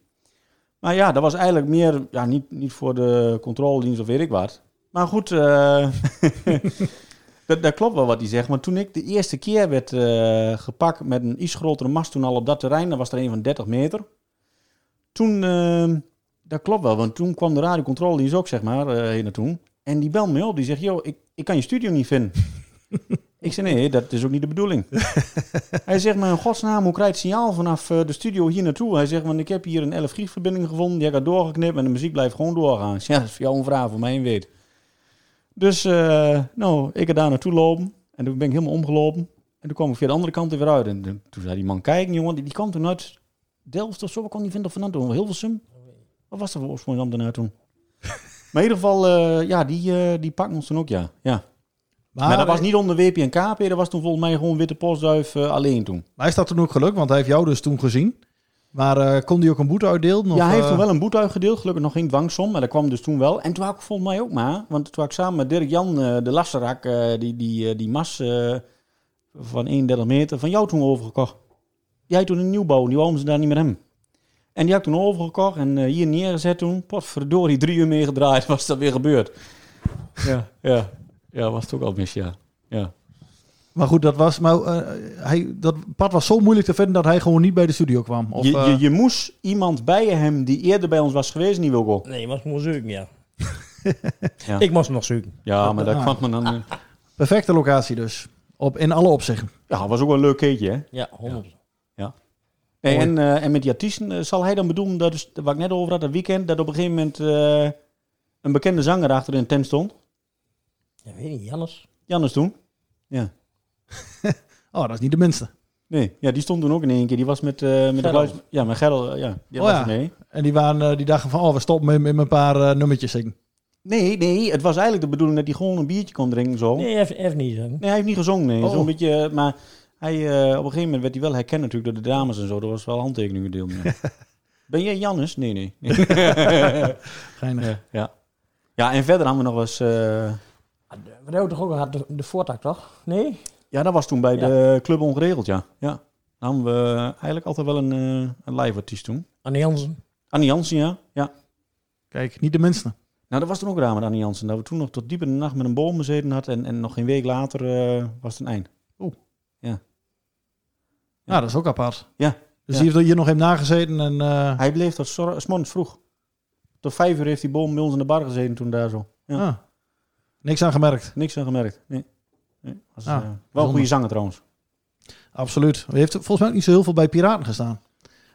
Speaker 3: Maar ja, dat was eigenlijk meer, ja, niet, niet voor de controledienst of weet ik wat. Maar goed, eh, dat, dat klopt wel wat hij zegt. Maar toen ik de eerste keer werd eh, gepakt met een iets grotere mast toen al op dat terrein, dan was er een van 30 meter. Toen, eh, dat klopt wel, want toen kwam de radiocontrole, die is ook zeg maar, eh heen naartoe. En die belde me op, die zegt, joh, ik, ik kan je studio niet vinden. ik zei, nee, dat is ook niet de bedoeling. hij zegt, maar in godsnaam, hoe krijg je het signaal vanaf eh, de studio hier naartoe? Hij zegt, want ik heb hier een 11 gig verbinding gevonden, die heb ik al doorgeknipt en de muziek blijft gewoon doorgaan. Ik zeg, Ja, dat is voor jou een vraag, voor mij een weet. Dus eh, nou, ik er daar naartoe lopen. En toen ben ik helemaal omgelopen. En toen kwam ik via de andere kant er weer uit. En toen toen zei die man, kijk jongen, die, die kwam toen uit Delft of zo. Wat kwam die vinden van Nando? Hilversum? Wat was dat voor oorsprong daarna toen? [LAUGHS] maar in ieder geval, eh, ja, die, eh die pakte ons toen ook, ja. ja. Maar,
Speaker 1: Ah,
Speaker 3: dat
Speaker 1: eh,
Speaker 3: was niet onder WP en KP. Dat was toen volgens mij gewoon Witte Postduif eh, alleen toen.
Speaker 1: Maar is dat toen ook gelukt? Want hij heeft jou dus toen gezien. Maar eh, kon hij ook een boete uitdelen? Of,
Speaker 3: ja, hij heeft
Speaker 1: eh,
Speaker 3: toen wel een boete uitgedeeld. Gelukkig nog geen dwangsom, maar dat kwam dus toen wel. En toen had ik volgens mij ook maar, want toen had ik samen met Dirk-Jan eh, de Lasserak, eh, die, die, eh, die mas eh, van 31 meter, van jou toen overgekocht. Die had toen een nieuwbouw, die wouden ze daar niet meer hebben. En die had ik toen overgekocht en eh, hier neergezet toen. Potverdorie, drie uur meegedraaid, [LAUGHS] was dat weer gebeurd. Ja, ja. Ja, was het ook al mis, ja. Ja,
Speaker 1: Maar goed, dat, was, maar, eh, hij, dat pad was zo moeilijk te vinden dat hij gewoon niet bij de studio kwam. Of,
Speaker 3: je,
Speaker 1: eh,
Speaker 3: je, je moest iemand bij hem die eerder bij ons was geweest, niet Wilco.
Speaker 2: Nee, je was gewoon
Speaker 1: [LAUGHS]
Speaker 2: zoeken, ja.
Speaker 3: Ja.
Speaker 2: Ik was nog zoeken.
Speaker 3: Ja, maar dat
Speaker 1: Ah.
Speaker 3: kwam me dan... eh,
Speaker 1: Perfecte locatie dus. Op, in alle opzichten.
Speaker 3: Ja, was ook wel een leuk keertje, hè?
Speaker 2: Ja, 100.
Speaker 3: Nee, en, eh, en met die artiesten eh, zal hij dan bedoelen, dat is, wat ik net over had, dat weekend, dat op een gegeven moment eh, een bekende zanger achter in de tent stond.
Speaker 2: Ja, weet niet, Jannes.
Speaker 3: Jannes toen.
Speaker 1: Oh, dat is niet de minste.
Speaker 3: Nee, ja, die stond toen ook in één keer. Die was met, eh, met de
Speaker 2: Gerald.
Speaker 3: geluids... Ja, met Gerald, eh, ja. Die
Speaker 1: Oh,
Speaker 3: was
Speaker 1: ja.
Speaker 3: er mee.
Speaker 1: En die, waren, eh, die dachten van, oh, we stoppen met, met een paar eh, nummertjes zingen.
Speaker 3: Nee, nee, het was eigenlijk de bedoeling dat hij gewoon een biertje kon drinken zo. Nee,
Speaker 2: Nee, even, even niet. Hè.
Speaker 3: hij heeft niet gezongen, nee.
Speaker 1: Oh.
Speaker 3: Zo'n beetje, eh, maar hij, eh, op een gegeven moment werd hij wel herkend natuurlijk door de dames en zo. Er was wel handtekeningen deel. ben jij Jannes? Nee, nee. [LAUGHS]
Speaker 1: Geinig.
Speaker 3: ja. ja, en verder hadden we nog eens... eh,
Speaker 2: Ah, de- Wat hebben we toch ook gehad? De, de voortak, toch? Nee?
Speaker 3: Ja, dat was toen bij
Speaker 2: Ja.
Speaker 3: de Club Ongeregeld, ja. ja. Dan hadden we eigenlijk altijd wel een, eh, een live artiest toen.
Speaker 2: Anne Jansen.
Speaker 3: Annie Jansen, ja. ja.
Speaker 1: Kijk, niet de minste.
Speaker 3: Nou, dat was toen ook raar met Annie Jansen. Dat we toen nog tot diep in de nacht met een boom gezeten hadden. En, en nog geen week later eh, was het een eind. Ja.
Speaker 1: Nou, dat is ook apart.
Speaker 3: Ja.
Speaker 1: Dus
Speaker 3: Ja.
Speaker 1: die heeft er hier nog even nagezeten en... eh,
Speaker 3: Hij bleef tot zor- 's morgens vroeg. Tot vijf uur heeft die boom bij ons in de bar gezeten toen daar zo. ja.
Speaker 1: ah, niks aan gemerkt.
Speaker 3: Niks aan gemerkt. Nee. nee. Was,
Speaker 1: Ah,
Speaker 3: eh, wel een
Speaker 1: bijzonder.
Speaker 3: goede zanger trouwens.
Speaker 1: Absoluut. Hij heeft volgens mij ook niet zo heel veel bij Piraten gestaan.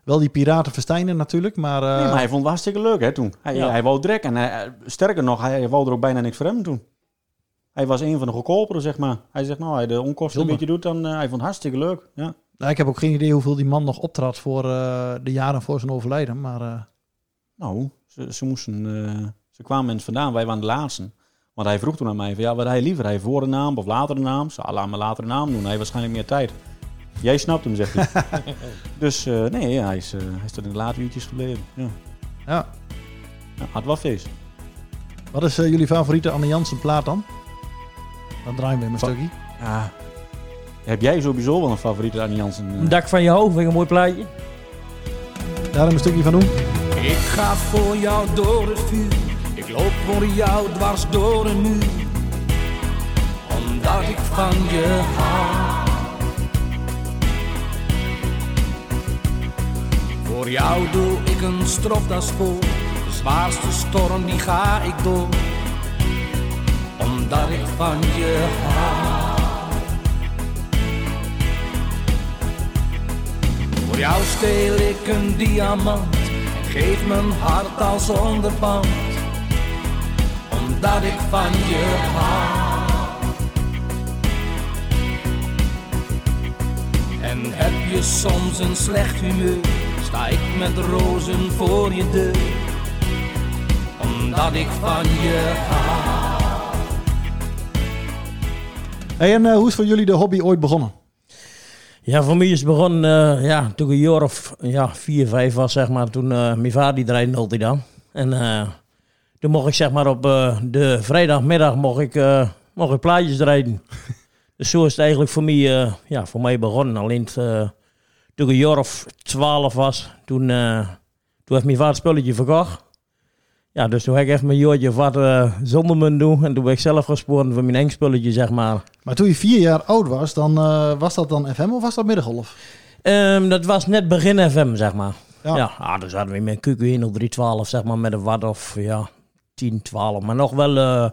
Speaker 1: Wel die Piraten verstijnen natuurlijk, maar... eh,
Speaker 3: Nee, maar hij vond het hartstikke leuk hè, toen. Hij,
Speaker 1: Ja.
Speaker 3: hij wou direct. En hij- eh, sterker nog, hij wou er ook bijna niks voor hem toen. Hij was een van de goedkoperen, zeg maar. Hij zegt, nou, hij de onkosten een
Speaker 1: Zonde.
Speaker 3: beetje doet, dan... eh, hij vond het hartstikke leuk, ja.
Speaker 1: nou, ik heb ook geen idee hoeveel die man nog optrad voor eh, de jaren voor zijn overlijden, maar... eh,
Speaker 3: Nou, ze, ze moesten... eh, ze kwamen eens vandaan, wij waren de laatste. Want hij vroeg toen aan mij, van, ja, wat hij liever? Hij voor de naam of later de naam? Ze, ah, laat me later de naam doen, hij heeft waarschijnlijk meer tijd. Jij snapt hem,
Speaker 1: [LAUGHS]
Speaker 3: zegt hij. dus eh, nee, ja, hij is, eh, hij is tot in de late uurtjes gebleven. Ja.
Speaker 1: Ja.
Speaker 3: Had wel feest.
Speaker 1: Wat is eh, jullie favoriete Anne Jansen plaat dan? Dan draaien we hem een stukje.
Speaker 3: Ja. Heb jij sowieso wel een favoriete aan Jansen? eh?
Speaker 2: Een dak van je hoofd, vind ik een mooi plaatje.
Speaker 1: Daar een stukje van doen.
Speaker 10: Ik ga voor jou door het vuur, ik loop voor jou dwars door een muur, omdat ik van je hou. Voor jou doe ik een stropdas voor, de zwaarste storm die ga ik door, omdat ik van je hou. Voor jou steel ik een diamant en geef mijn hart als onderpand, omdat ik van je hou. En heb je soms een slecht humeur, sta ik met rozen voor je deur, omdat ik van je hou.
Speaker 1: Hey, en eh, hoe is voor jullie de hobby ooit begonnen?
Speaker 2: Ja, voor mij is het begonnen eh, ja, toen ik een jaar of ja, vier, vijf was, zeg maar. Toen eh, mijn vader die draaide altijd aan. En eh, toen mocht ik zeg maar op eh, de vrijdagmiddag mocht ik, eh, mocht ik plaatjes [LAUGHS] draaien. dus zo is het eigenlijk voor mij, eh, ja, voor mij begonnen. Alleen eh, toen ik een jaar of twaalf was, toen, eh, toen heeft mijn vader het spulletje verkocht. Ja, dus toen heb ik echt mijn jaartje of wat eh, zonder me doen. En toen ben ik zelf gespoord voor mijn eigen spulletje, zeg maar.
Speaker 1: Maar toen je vier jaar oud was, dan eh, was dat dan FM of was dat middengolf?
Speaker 2: Ehm, dat was net begin FM, zeg maar.
Speaker 1: Ja.
Speaker 2: Ja, Ah, dus hadden we met QQ 10312, zeg maar, met een watt of ja, 10, 12. Maar nog wel eh,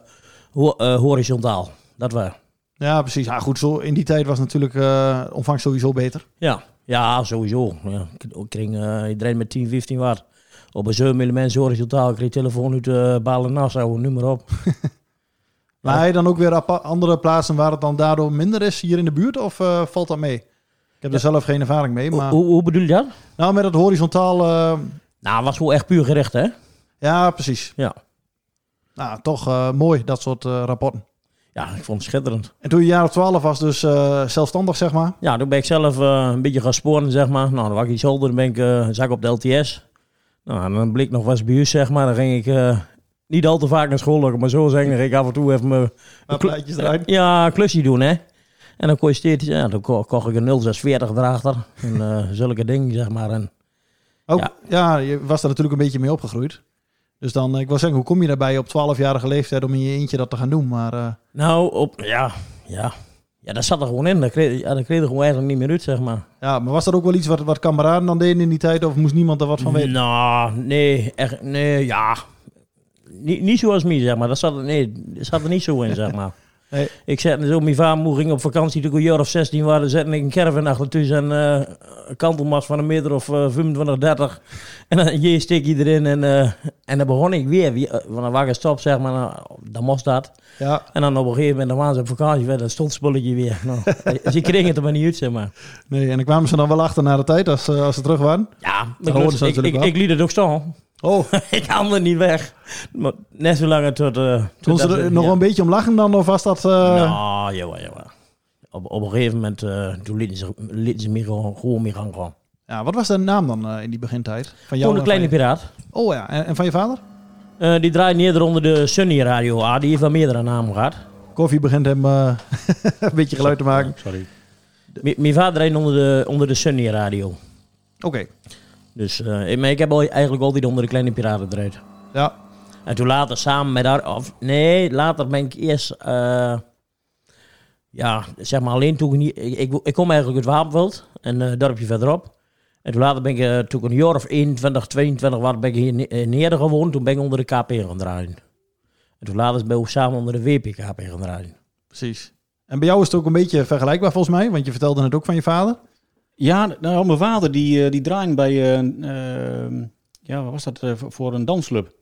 Speaker 2: ho- eh, horizontaal. Dat wel.
Speaker 1: Ja, precies. Ja, goed, zo in die tijd was natuurlijk eh omvang sowieso beter.
Speaker 2: Ja, ja sowieso. Ja, ik- ik kreeg, eh, ik draait met 10, 15 watt. Op een 7 mm horizontaal. Ik kreeg telefoon uit eh Balen Nassau, noem maar op.
Speaker 1: Maar hij dan ook weer apa- andere plaatsen waar het dan daardoor minder is hier in de buurt? Of eh, valt dat mee? Ik heb er zelf geen ervaring mee. Maar...
Speaker 2: Hoe, hoe bedoel je dat?
Speaker 1: Nou, met het horizontaal... eh,
Speaker 2: Nou, was wel echt puur gericht, hè?
Speaker 1: ja, precies.
Speaker 2: Ja.
Speaker 1: Nou, toch eh, mooi, dat soort eh, rapporten.
Speaker 2: Ja, ik vond het schitterend.
Speaker 1: En toen je jaar of twaalf was, dus eh, zelfstandig, zeg maar.
Speaker 2: Ja, toen ben ik zelf eh, een beetje gaan sporen, zeg maar. Nou, dan was ik iets ouder, dan ben ik eh, zak op de LTS. Nou, en dan bleek nog was bij huis, zeg maar. Dan ging ik eh, niet al te vaak naar school, laat ik het maar zo zeggen. Dan ging ik af en toe even mijn...
Speaker 1: Wat plaatjes draaien.
Speaker 2: Ja, een klusje doen, hè. En dan kon je steeds... Ja, dan ko- kocht ik een 0640 erachter. En eh, [LAUGHS] zulke dingen, zeg maar. En,
Speaker 1: Ook, ja. je was daar natuurlijk een beetje mee opgegroeid. Dus dan, eh, ik wil zeggen, hoe kom je daarbij op 12-jarige leeftijd om in je eentje dat te gaan doen? Maar eh,
Speaker 2: nou, op... Ja, ja. Ja, dat zat er gewoon in. Dat kreeg, ja, dat kreeg er gewoon eigenlijk niet meer uit, zeg maar.
Speaker 1: ja, maar was dat ook wel iets wat, wat kameraden dan deden in die tijd? Of moest niemand er wat van weten?
Speaker 2: Nou, nee, echt, nee, ja. Niet, niet zoals mij, zeg maar. Dat zat, er- nee, dat zat er niet zo in, zeg maar.
Speaker 1: [LAUGHS] Nee.
Speaker 2: Ik zette zo, mijn vader ging op vakantie toen ik een jaar of 16 was. zette ik een caravan achter thuis en eh, een kantelmas van een meter of eh, 25, 30. [LAUGHS] En dan je steek je erin en, eh, en dan begon ik weer. Wie- eh, Van een wagen stop, zeg maar, nou, dan moest dat.
Speaker 1: Ja.
Speaker 2: En dan op een gegeven moment, dan waren ze op vakantie, werd dat stondspulletje weer. Nou, [LAUGHS] ze kregen het er maar niet uit, zeg maar.
Speaker 1: Nee, en dan kwamen ze dan wel achter na de tijd als, ze- als ze terug waren.
Speaker 2: Ja,
Speaker 1: dan
Speaker 2: ik,
Speaker 1: hoorden
Speaker 2: lust-
Speaker 1: ze
Speaker 2: ik,
Speaker 1: natuurlijk
Speaker 2: ik,
Speaker 1: wel.
Speaker 2: ik liet het ook staan.
Speaker 1: Oh.
Speaker 2: [LAUGHS] ik haalde het niet weg. Maar net zolang het tot... eh
Speaker 1: Kon
Speaker 2: tot
Speaker 1: ze
Speaker 2: dat-
Speaker 1: er nog wel een beetje om lachen dan? Of was dat... eh,
Speaker 2: Nou, jawel, jawel. Op, op een gegeven moment, eh, toen lieten ze, lieten ze me gewoon, gewoon mee gaan gaan.
Speaker 1: ja, wat was de naam dan eh, in die begintijd? Van jou
Speaker 2: Gewoon de
Speaker 1: en
Speaker 2: kleine
Speaker 1: van je-
Speaker 2: piraat.
Speaker 1: Oh ja, en, en van je vader?
Speaker 2: Eh, die draait eerder onder de Sunny Radio A. Die heeft wel meerdere namen gehad.
Speaker 1: Koffie begint hem eh, [LAUGHS] een beetje geluid te maken.
Speaker 2: Sorry. M- Mijn vader draait onder de, onder de Sunny Radio.
Speaker 1: Oké.
Speaker 2: Dus eh, ik- maar ik heb al, eigenlijk altijd onder de kleine piraten draait.
Speaker 1: Ja.
Speaker 2: En toen later samen met haar... Of, nee, later ben ik eerst... eh, ja, zeg maar alleen toen ik niet... Ik, ik, ik kom eigenlijk uit Wapenveld, een eh, dorpje verderop. En toen later ben ik, eh, toen ik een jaar of 21, 22 was, ben ik hier ne- in Heerden gewoond. Toen ben ik onder de KP gaan draaien. En toen later ben ik ook samen onder de WP KP gaan draaien.
Speaker 1: Precies. En bij jou is het ook een beetje vergelijkbaar volgens mij, want je vertelde het ook van je vader.
Speaker 3: Ja, nou, mijn vader die, eh, die draaide bij, eh, een, eh, ja, wat was dat eh, voor een dansclub?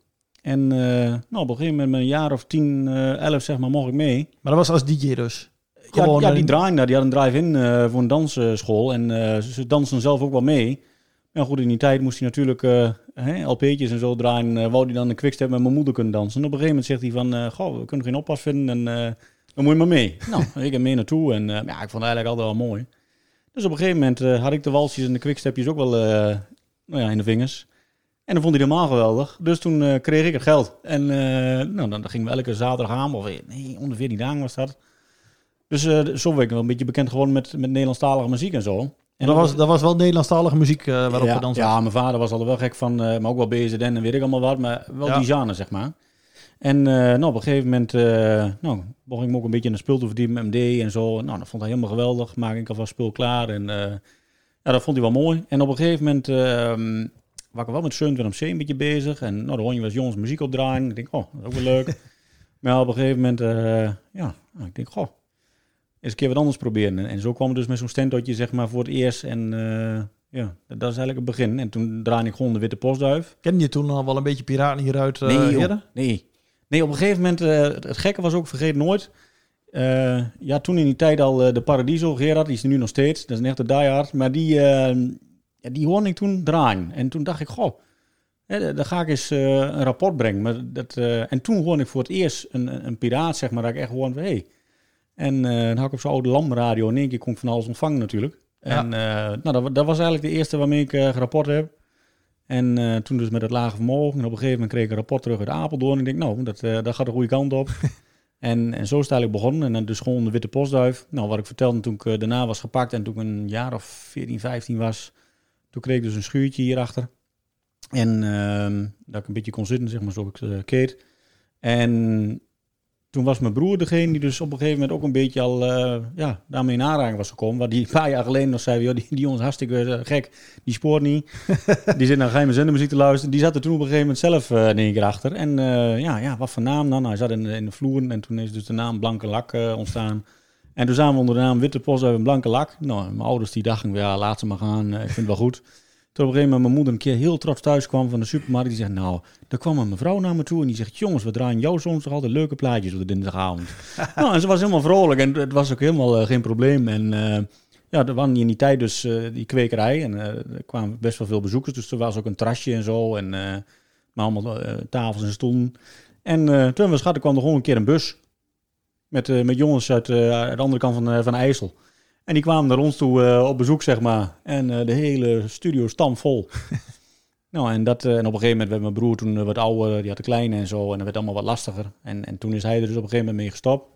Speaker 3: En eh, nou, op een gegeven moment, met een jaar of tien, eh, elf zeg maar, mocht ik mee.
Speaker 1: Maar dat was als DJ dus?
Speaker 3: Ja,
Speaker 1: Gewoon
Speaker 3: ja, die
Speaker 1: een-
Speaker 3: draaien daar. Die had een drive-in eh, voor een dansschool. En eh, ze- ze dansen zelf ook wel mee. En goed, in die tijd moest hij natuurlijk eh hè, LP'tjes en zo draaien. eh wou hij dan een quickstep met mijn moeder kunnen dansen. En op een gegeven moment zegt hij van... eh, Goh, we kunnen geen oppas vinden en eh, dan moet je maar mee. nou, ik heb mee naartoe. En eh, ja, ik vond het eigenlijk altijd wel mooi. Dus op een gegeven moment eh, had ik de walsjes en de quickstepjes ook wel eh, nou ja, in de vingers. En dan vond hij helemaal geweldig. Dus toen eh, kreeg ik het geld. En eh, nou, dan, dan gingen we elke zaterdag aan. Of eh, nee, onder 14 dagen was dat. Dus eh, zo werd ik wel een beetje bekend gewoon met, met Nederlandstalige muziek en zo. En
Speaker 1: dat, was, dat was wel Nederlandstalige muziek eh, waarop
Speaker 3: ja,
Speaker 1: we dan
Speaker 3: Ja, mijn vader was al wel gek van, eh, maar ook wel BZN en weet ik allemaal wat, maar wel
Speaker 1: Ja.
Speaker 3: die genre, zeg maar. En eh, nou, op een gegeven moment eh nou, begon ik me ook een beetje in de spul te verdiepen, MD en zo. Nou, dat vond hij helemaal geweldig. Maak ik alvast spul klaar en eh, ja, dat vond hij wel mooi. En op een gegeven moment ehm was ik wel met Sun van MC een beetje bezig. En nou, dan hoor je wel eens jongens muziek opdraaien. Ik denk, oh, dat is ook wel
Speaker 1: [LAUGHS]
Speaker 3: leuk. maar op een gegeven moment, eh, ja, nou, ik denk, goh, eens een keer wat anders proberen. En, en zo kwam het dus met zo'n standotje zeg maar voor het eerst. En eh, ja, dat is eigenlijk het begin. En toen draaide ik gewoon de witte postduif.
Speaker 1: Ken je toen al wel een beetje piraten hieruit? eh,
Speaker 3: joh.
Speaker 1: eerder?
Speaker 3: nee. nee, op een gegeven moment, eh, het- het gekke was ook, vergeet nooit. eh, ja, toen in die tijd al eh, de Paradiso, Gerard, die is er nu nog steeds. Dat is een echte diehard. Maar die, eh, ja, die hoorde ik toen draaien. En toen dacht ik, goh, hè, dan ga ik eens eh, een rapport brengen. Maar dat, eh, en toen hoorde ik voor het eerst een, een, een piraat, zeg maar, dat ik echt gewoon van, hé. En eh, dan had ik op zo'n oude lamradio in één keer kon ik van alles ontvangen natuurlijk. En eh, nou, dat, wa- dat was eigenlijk de eerste waarmee ik eh gerapport heb. En eh, toen dus met het lage vermogen. En op een gegeven moment kreeg ik een rapport terug uit Apeldoorn. Ik denk, nou, dat, eh, dat gaat de goede kant op. en, en zo is het eigenlijk begonnen. En dan dus gewoon de witte postduif. Nou, wat ik vertelde toen ik eh, daarna was gepakt. En toen ik een jaar of 14, 15 was. Toen kreeg ik dus een schuurtje hierachter. En ehm, dat ik een beetje kon zitten, zeg maar, zo ik eh, keet. En toen was mijn broer degene die dus op een gegeven moment ook een beetje al eh, ja, daarmee in aanraking was gekomen. Waar die een paar jaar geleden nog zei, joh, die, die jongens hartstikke eh, gek, die spoort niet. die zit naar geheime zendermuziek te luisteren. Die zat er toen op een gegeven moment zelf eh in één keer achter. En eh, ja, ja, wat voor naam dan? Hij zat in, de- in de vloer en toen is dus de naam Blanke Lak eh, ontstaan. En toen zaten we onder de naam Witte Post uit een Blanke Lak. Nou, mijn ouders die dachten, ja, laat ze maar gaan, eh, ik vind het wel goed. Toen op een gegeven moment mijn moeder een keer heel trots thuis kwam van de supermarkt. Die zegt, nou, daar kwam een mevrouw naar me toe en die zegt, jongens, we draaien jou soms toch altijd leuke plaatjes op de dinsdagavond. nou, en ze was helemaal vrolijk en het was ook helemaal eh, geen probleem. En eh, ja, er waren in die tijd dus eh, die kwekerij en eh, er kwamen best wel veel bezoekers. Dus er was ook een trasje en zo en eh, maar allemaal eh, tafels en stoelen. En eh toen we schatten kwam er gewoon een keer een bus met, eh, met jongens uit eh, de andere kant van, eh, van IJssel. En die kwamen naar ons toe eh, op bezoek, zeg maar. En eh, de hele studio stamvol. [LAUGHS] nou, en, dat, eh, en op een gegeven moment werd mijn broer toen eh, wat ouder. Die had de kleine en zo. En dat werd allemaal wat lastiger. En, en toen is hij er dus op een gegeven moment mee gestopt.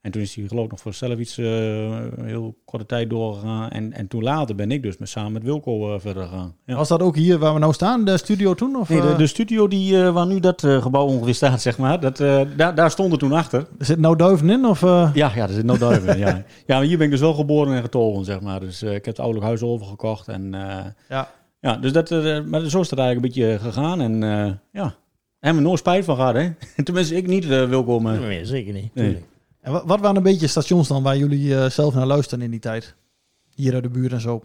Speaker 3: En toen is hij geloof ik nog voor zelf iets eh, een heel korte tijd doorgegaan. En, en toen later ben ik dus met, samen met Wilco eh, verder gegaan. Ja.
Speaker 1: Was dat ook hier waar we nou staan, de studio toen? Of,
Speaker 3: Nee, de,
Speaker 1: eh,
Speaker 3: de studio die, eh, waar nu dat eh, gebouw ongeveer staat, zeg maar, dat, eh, daar, daar stond het toen achter.
Speaker 1: Er zit nou duiven in? Of, eh?
Speaker 3: Ja, ja, er zit nog [LAUGHS] duiven in, ja. ja, maar hier ben ik dus wel geboren en getogen, zeg maar. Dus eh, ik heb het ouderlijk huis overgekocht. En, eh,
Speaker 1: ja.
Speaker 3: Ja, dus dat, eh, maar zo is het eigenlijk een beetje eh, gegaan. En eh, ja, daar hebben we nooit spijt van gehad, hè. [LAUGHS] Tenminste, ik niet eh, Wilco. Maar...
Speaker 2: Nee, zeker niet.
Speaker 3: Nee.
Speaker 1: En wa- wat waren een beetje stations dan waar jullie eh, zelf naar luisterden in die tijd? Hier uit de buurt en zo.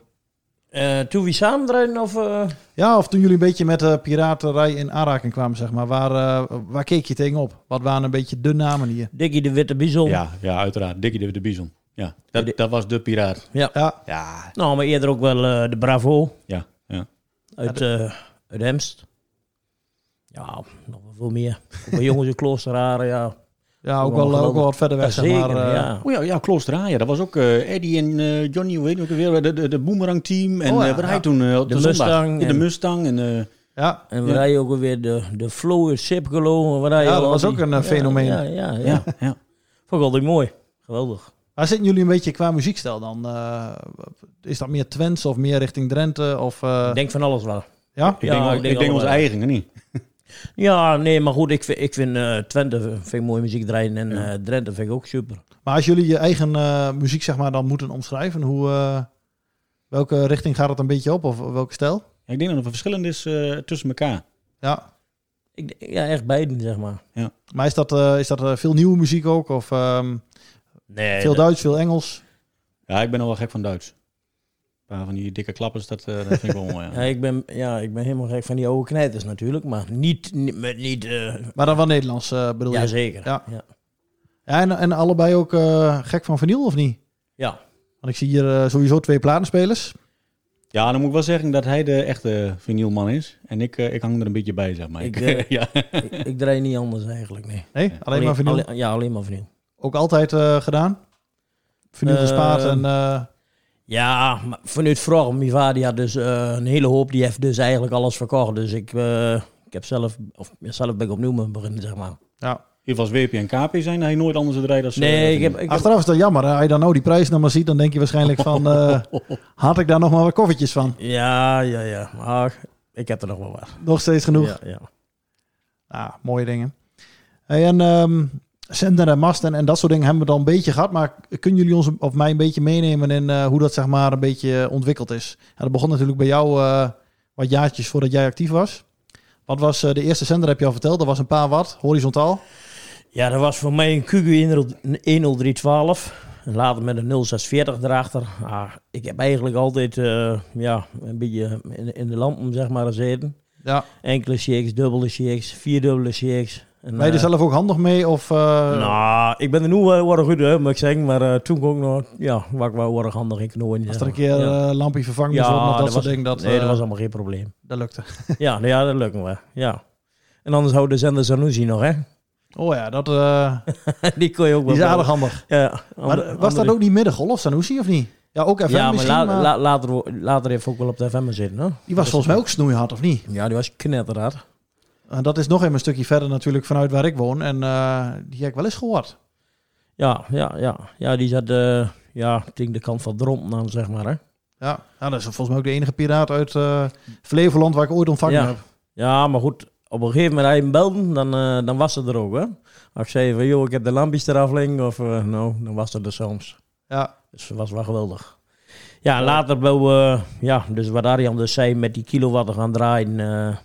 Speaker 2: Eh, toen we samen draaiden of... eh,
Speaker 1: Ja, of toen jullie een beetje met eh, piraterij in aanraking kwamen, zeg maar. Waar, eh, waar keek je tegenop? Wat waren een beetje de namen hier?
Speaker 2: Dikkie de Witte Bison.
Speaker 3: Ja, ja, uiteraard. Dikkie de, de Bison. Ja, dat, dat was de piraat.
Speaker 2: Ja.
Speaker 1: ja.
Speaker 2: Nou, maar eerder ook wel eh, de Bravo
Speaker 3: Ja, ja.
Speaker 2: uit, eh uit Hemst. Ja, nog wel veel meer. Ook bij jongens in Kloosteraren, ja.
Speaker 1: Ja, ook wel, eh, ook wel wat verder weg, zeg
Speaker 2: Zeker,
Speaker 1: maar. eh.
Speaker 2: ja.
Speaker 3: Oh ja, ja Kloosterhaar, ja. Dat was ook eh, Eddie en eh, Johnny, hoe heet het ook weer, de, de, de Boomerang Team. En
Speaker 2: Oh ja,
Speaker 3: eh, wat
Speaker 2: ja.
Speaker 3: hij toen eh, op
Speaker 2: De
Speaker 3: de, zondag.
Speaker 2: Mustang
Speaker 3: Ja, de
Speaker 2: en-
Speaker 3: Mustang. En, eh,
Speaker 1: ja.
Speaker 2: En we rijden ook weer de, de Flow Sipkelo. Ja,
Speaker 1: Ja, dat was ook een, eh, fenomeen.
Speaker 2: Ja, ja, ja.
Speaker 3: Ja, ja.
Speaker 2: Vond ik altijd mooi. Geweldig.
Speaker 1: Waar zitten jullie een beetje qua muziekstijl dan? Eh, is dat meer Twents of meer richting Drenthe? Of, eh,
Speaker 2: Ik denk van alles wel.
Speaker 1: ja?
Speaker 3: Ik denk,
Speaker 2: Ja,
Speaker 3: wel-
Speaker 2: ik
Speaker 3: ik
Speaker 2: denk
Speaker 3: denk,
Speaker 2: wel, eh,
Speaker 3: onze
Speaker 2: ja.
Speaker 3: eigen, hè, niet?
Speaker 2: Ja, nee, maar goed, ik vind, ik vind eh, Twente vind ik mooie muziek draaien en eh, Drenthe vind ik ook super.
Speaker 1: Maar als jullie je eigen eh, muziek zeg maar dan moeten omschrijven, hoe, eh, welke richting gaat het een beetje op? Of welke stijl?
Speaker 3: Ja, ik denk dat er verschillend is eh, tussen elkaar.
Speaker 1: Ja.
Speaker 2: Ik, ja, echt beiden, zeg maar.
Speaker 1: Maar is dat, eh, is dat eh, veel nieuwe muziek ook? Of ehm,
Speaker 2: Nee,
Speaker 1: veel
Speaker 2: dat-
Speaker 1: Duits, veel Engels.
Speaker 3: Ja, ik ben al wel gek van Duits. Een paar van die dikke klappers, dat, eh, dat vind ik wel mooi.
Speaker 2: [LAUGHS] Ja, ik, ben, ja, ik ben helemaal gek van die oude knijters natuurlijk, maar niet, niet met niet... eh,
Speaker 1: Maar dan wel Nederlands eh, bedoel je?
Speaker 2: Jazeker,
Speaker 1: Ja.
Speaker 2: ja.
Speaker 1: Ja, en, en allebei ook eh, gek van vinyl, of niet?
Speaker 2: Ja.
Speaker 1: Want ik zie hier eh, sowieso twee platenspelers.
Speaker 3: Ja, dan moet ik wel zeggen dat hij de echte vinylman is. En ik, eh, ik hang er een beetje bij, zeg maar.
Speaker 2: Ik,
Speaker 3: Ik,
Speaker 2: eh,
Speaker 3: [LAUGHS] ja.
Speaker 2: ik, ik draai niet anders eigenlijk, nee.
Speaker 1: Nee, alleen maar vinyl?
Speaker 2: alleen- ja, alleen maar vinyl.
Speaker 1: Ook altijd eh, gedaan. Vinyl
Speaker 2: Eh,
Speaker 1: gespaard en... eh,
Speaker 2: Ja, maar vanuit vroeg, mijn vader die had dus eh, een hele hoop, die heeft dus eigenlijk alles verkocht. Dus ik, eh, ik heb zelf, of ja, zelf ben ik opnieuw met beginnen, zeg maar.
Speaker 1: Ja.
Speaker 3: Hier was WP en KP zijn, hij nooit anders gedraaid dan ze-
Speaker 2: Nee,
Speaker 3: eh, dat
Speaker 2: ik
Speaker 3: ze
Speaker 2: heb-
Speaker 3: doen.
Speaker 2: ik heb-
Speaker 1: Achteraf is dat jammer. hè. Als je dan nou die prijs nog maar ziet, dan denk je waarschijnlijk van...
Speaker 2: [LAUGHS]
Speaker 1: eh, had ik daar nog maar wat koffertjes van?
Speaker 2: Ja, ja, ja. Maar ik heb er nog wel wat.
Speaker 1: Nog steeds genoeg?
Speaker 2: Ja, ja.
Speaker 1: Ah, mooie dingen. Hey, en ehm zender en masten en dat soort dingen hebben we dan een beetje gehad. Maar kunnen jullie ons of mij een beetje meenemen in eh, hoe dat zeg maar een beetje eh, ontwikkeld is? Ja, dat begon natuurlijk bij jou eh, wat jaartjes voordat jij actief was. Wat was eh, de eerste zender, heb je al verteld? Dat was een paar watt, horizontaal.
Speaker 2: Ja, dat was voor mij een QQ 10312. En later met een 0640 erachter. Ah, ik heb eigenlijk altijd eh, ja, een beetje in, in de lampen zeg maar, gezeten.
Speaker 1: Ja.
Speaker 2: Enkele shakes, dubbele shakes, vierdubbele shakes. En,
Speaker 1: ben je dus er
Speaker 2: eh,
Speaker 1: zelf ook handig mee? Of, eh,
Speaker 2: Nou, ik ben er nu wel wel goed hè, moet ik zeggen. Maar eh, toen kon ik nog, ja, was ik wel erg handig in knooien.
Speaker 1: Als
Speaker 2: zeg
Speaker 1: er een
Speaker 2: maar.
Speaker 1: keer
Speaker 2: Ja.
Speaker 1: eh lampje vervangen moest worden of dat, soort
Speaker 2: was,
Speaker 1: dingen. Dat,
Speaker 2: nee, dat
Speaker 1: eh,
Speaker 2: was allemaal geen probleem.
Speaker 1: Dat lukte.
Speaker 2: ja, nou ja, dat lukken we. Ja. En anders houden de zender Zanussi nog, hè? [LAUGHS]
Speaker 1: Oh ja, dat... eh,
Speaker 2: Die kon je ook wel...
Speaker 1: Die is aardig handig.
Speaker 2: Ja.
Speaker 1: maar
Speaker 2: andere-
Speaker 1: was dat
Speaker 2: andere-
Speaker 1: ook niet middengolf, Sanusi, of niet? Ja, ook FM
Speaker 2: ja, maar,
Speaker 1: misschien,
Speaker 2: la-
Speaker 1: maar
Speaker 2: la- later, wo- later heeft ook wel op de FM zitten, hè?
Speaker 1: die was volgens mij ook snoeihard, of niet?
Speaker 2: Ja, die was knetterhard.
Speaker 1: En dat is nog even een stukje verder natuurlijk vanuit waar ik woon. En eh, die heb ik wel eens gehoord.
Speaker 2: Ja, ja, ja. Ja, die zat... eh ja, tegen de kant van Drom dan, zeg maar, hè?
Speaker 1: Ja, nou, dat is volgens mij ook de enige piraat uit eh, Flevoland waar ik ooit ontvangen
Speaker 2: ja.
Speaker 1: heb.
Speaker 2: Ja, maar goed. Op een gegeven moment hij hem belde, dan, eh, dan was ze er ook, hè? Als ik zei van, joh, ik heb de lampjes eraf liggen, of... eh, nou, dan was ze er soms.
Speaker 1: Ja.
Speaker 2: Dus dat was wel geweldig. Ja, later wel... eh, ja, dus wat Arjan dus zei, met die kilowatt te gaan draaien... eh,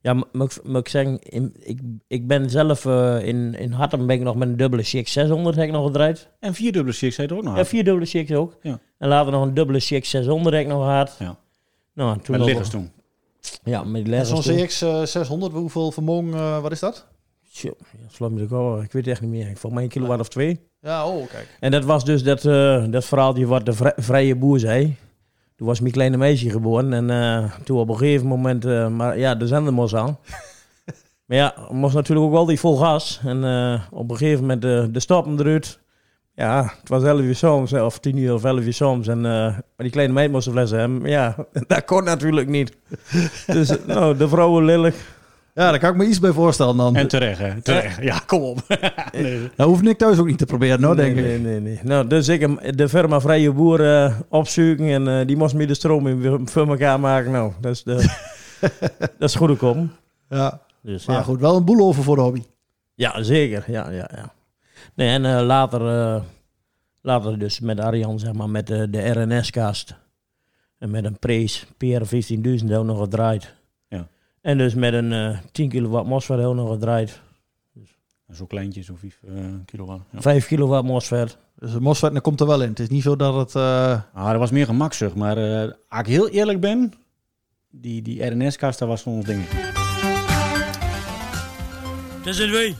Speaker 2: ja, mo- moet ik- moet ik zeggen, in- ik, ik ben zelf eh, in, in Hattem ben ik nog met een dubbele Shake 600 heb ik nog gedraaid.
Speaker 3: En vier dubbele shakes zei er ook nog.
Speaker 2: Ja, vier dubbele Shakes ook.
Speaker 3: Ja.
Speaker 2: En later nog een dubbele Shake 600 heb ik nog gehad.
Speaker 3: Ja.
Speaker 2: Nou, en toen
Speaker 3: Met
Speaker 2: nog-
Speaker 3: liggers toen.
Speaker 2: Ja, met die
Speaker 1: En
Speaker 2: leggers
Speaker 1: Zo'n
Speaker 2: toen.
Speaker 1: CX600, hoeveel vermogen, eh, wat is dat?
Speaker 2: Tjo, ja, slaat me de kou. Ik weet het echt niet meer. Volgens mij een kilowatt of twee.
Speaker 1: Ja, oh, kijk.
Speaker 2: En dat was dus dat, eh dat verhaaltje wat de vri- vrije boer zei. Toen was mijn kleine meisje geboren. En eh, toen op een gegeven moment... eh, maar ja, de zender moest aan. maar ja, moest natuurlijk ook wel die vol gas. En eh, op een gegeven moment eh, de stappen eruit. Ja, het was 11 uur soms. eh, Of 10 uur of 11 uur soms. En, eh, maar die kleine meid moest een fles hebben. Maar Ja, [LAUGHS] dat kon natuurlijk niet. dus eh, nou, de vrouwen lelijk.
Speaker 1: Ja, daar kan ik me iets bij voorstellen dan.
Speaker 3: En terecht, hè? Terecht. Ja, kom op. nee.
Speaker 1: Nou hoef ik thuis ook niet te proberen, hoor, Oh, denk
Speaker 2: nee,
Speaker 1: ik.
Speaker 2: Nee, nee, nee. Nou, dus ik hem- de firma Vrije Boer eh, opzoeken en eh, die moest me de stroom in weer voor elkaar maken. Nou, dat is, de, dat is goede kom.
Speaker 1: Ja.
Speaker 2: Dus,
Speaker 1: maar
Speaker 2: ja.
Speaker 1: goed, wel een boel over voor de hobby.
Speaker 2: Ja, zeker. Ja, ja, ja. Nee, en eh, later, eh, later dus met Arjan, zeg maar, met eh, de RNS-kast. En met een Prees PR15000 ook nog gedraaid.
Speaker 3: Ja.
Speaker 2: En dus met een eh 10 kilowatt MOSFET ook nog gedraaid.
Speaker 3: Zo kleintje, zo'n 5 kilowatt. Ja.
Speaker 2: 5 kilowatt MOSFET.
Speaker 1: Dus de MOSFET dat komt er wel in. Het is niet zo dat het... eh,
Speaker 3: Ah, dat was meer gemakzucht, maar eh, als ik heel eerlijk ben, die, die RNS-kast, dat was van ons ding.
Speaker 6: Daar zijn wij.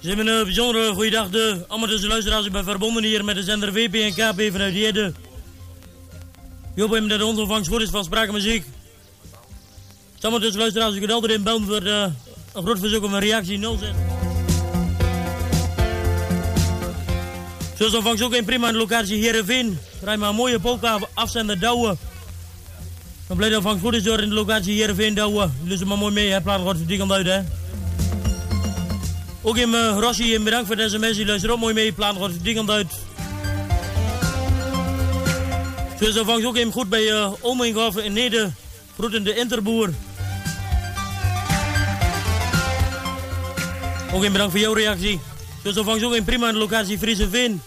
Speaker 6: Zijn we een bijzondere goeiedag, de amateurs luisteraars. Ik ben verbonden hier met de zender WP en KP vanuit Jede. Joop hem dat de ontvangst goed is van Sprake Muziek. Samen dus luisteraars, u kunt altijd in bellen voor eh, een groot verzoek om een reactie 0 zet. Zo is de ontvangst ook in prima in de locatie Heerenveen. Rij maar een mooie polka afzender Douwe. Dan blijft de ontvangst goed is door in de locatie Heerenveen Douwe. Lust er maar mooi mee, hè. Plaat wordt die kant uit, hè. Ook in uh, Rossi, en bedankt voor deze mensen. Luister ook mooi mee. Plaat wordt die kant uit. Zo is de ontvangst ook even goed bij uh, Ominghoff in Neder. Groeten de Interboer. Ook in bedankt voor jouw reactie. Zo is de ontvangst ook in prima in de locatie Friese Veen.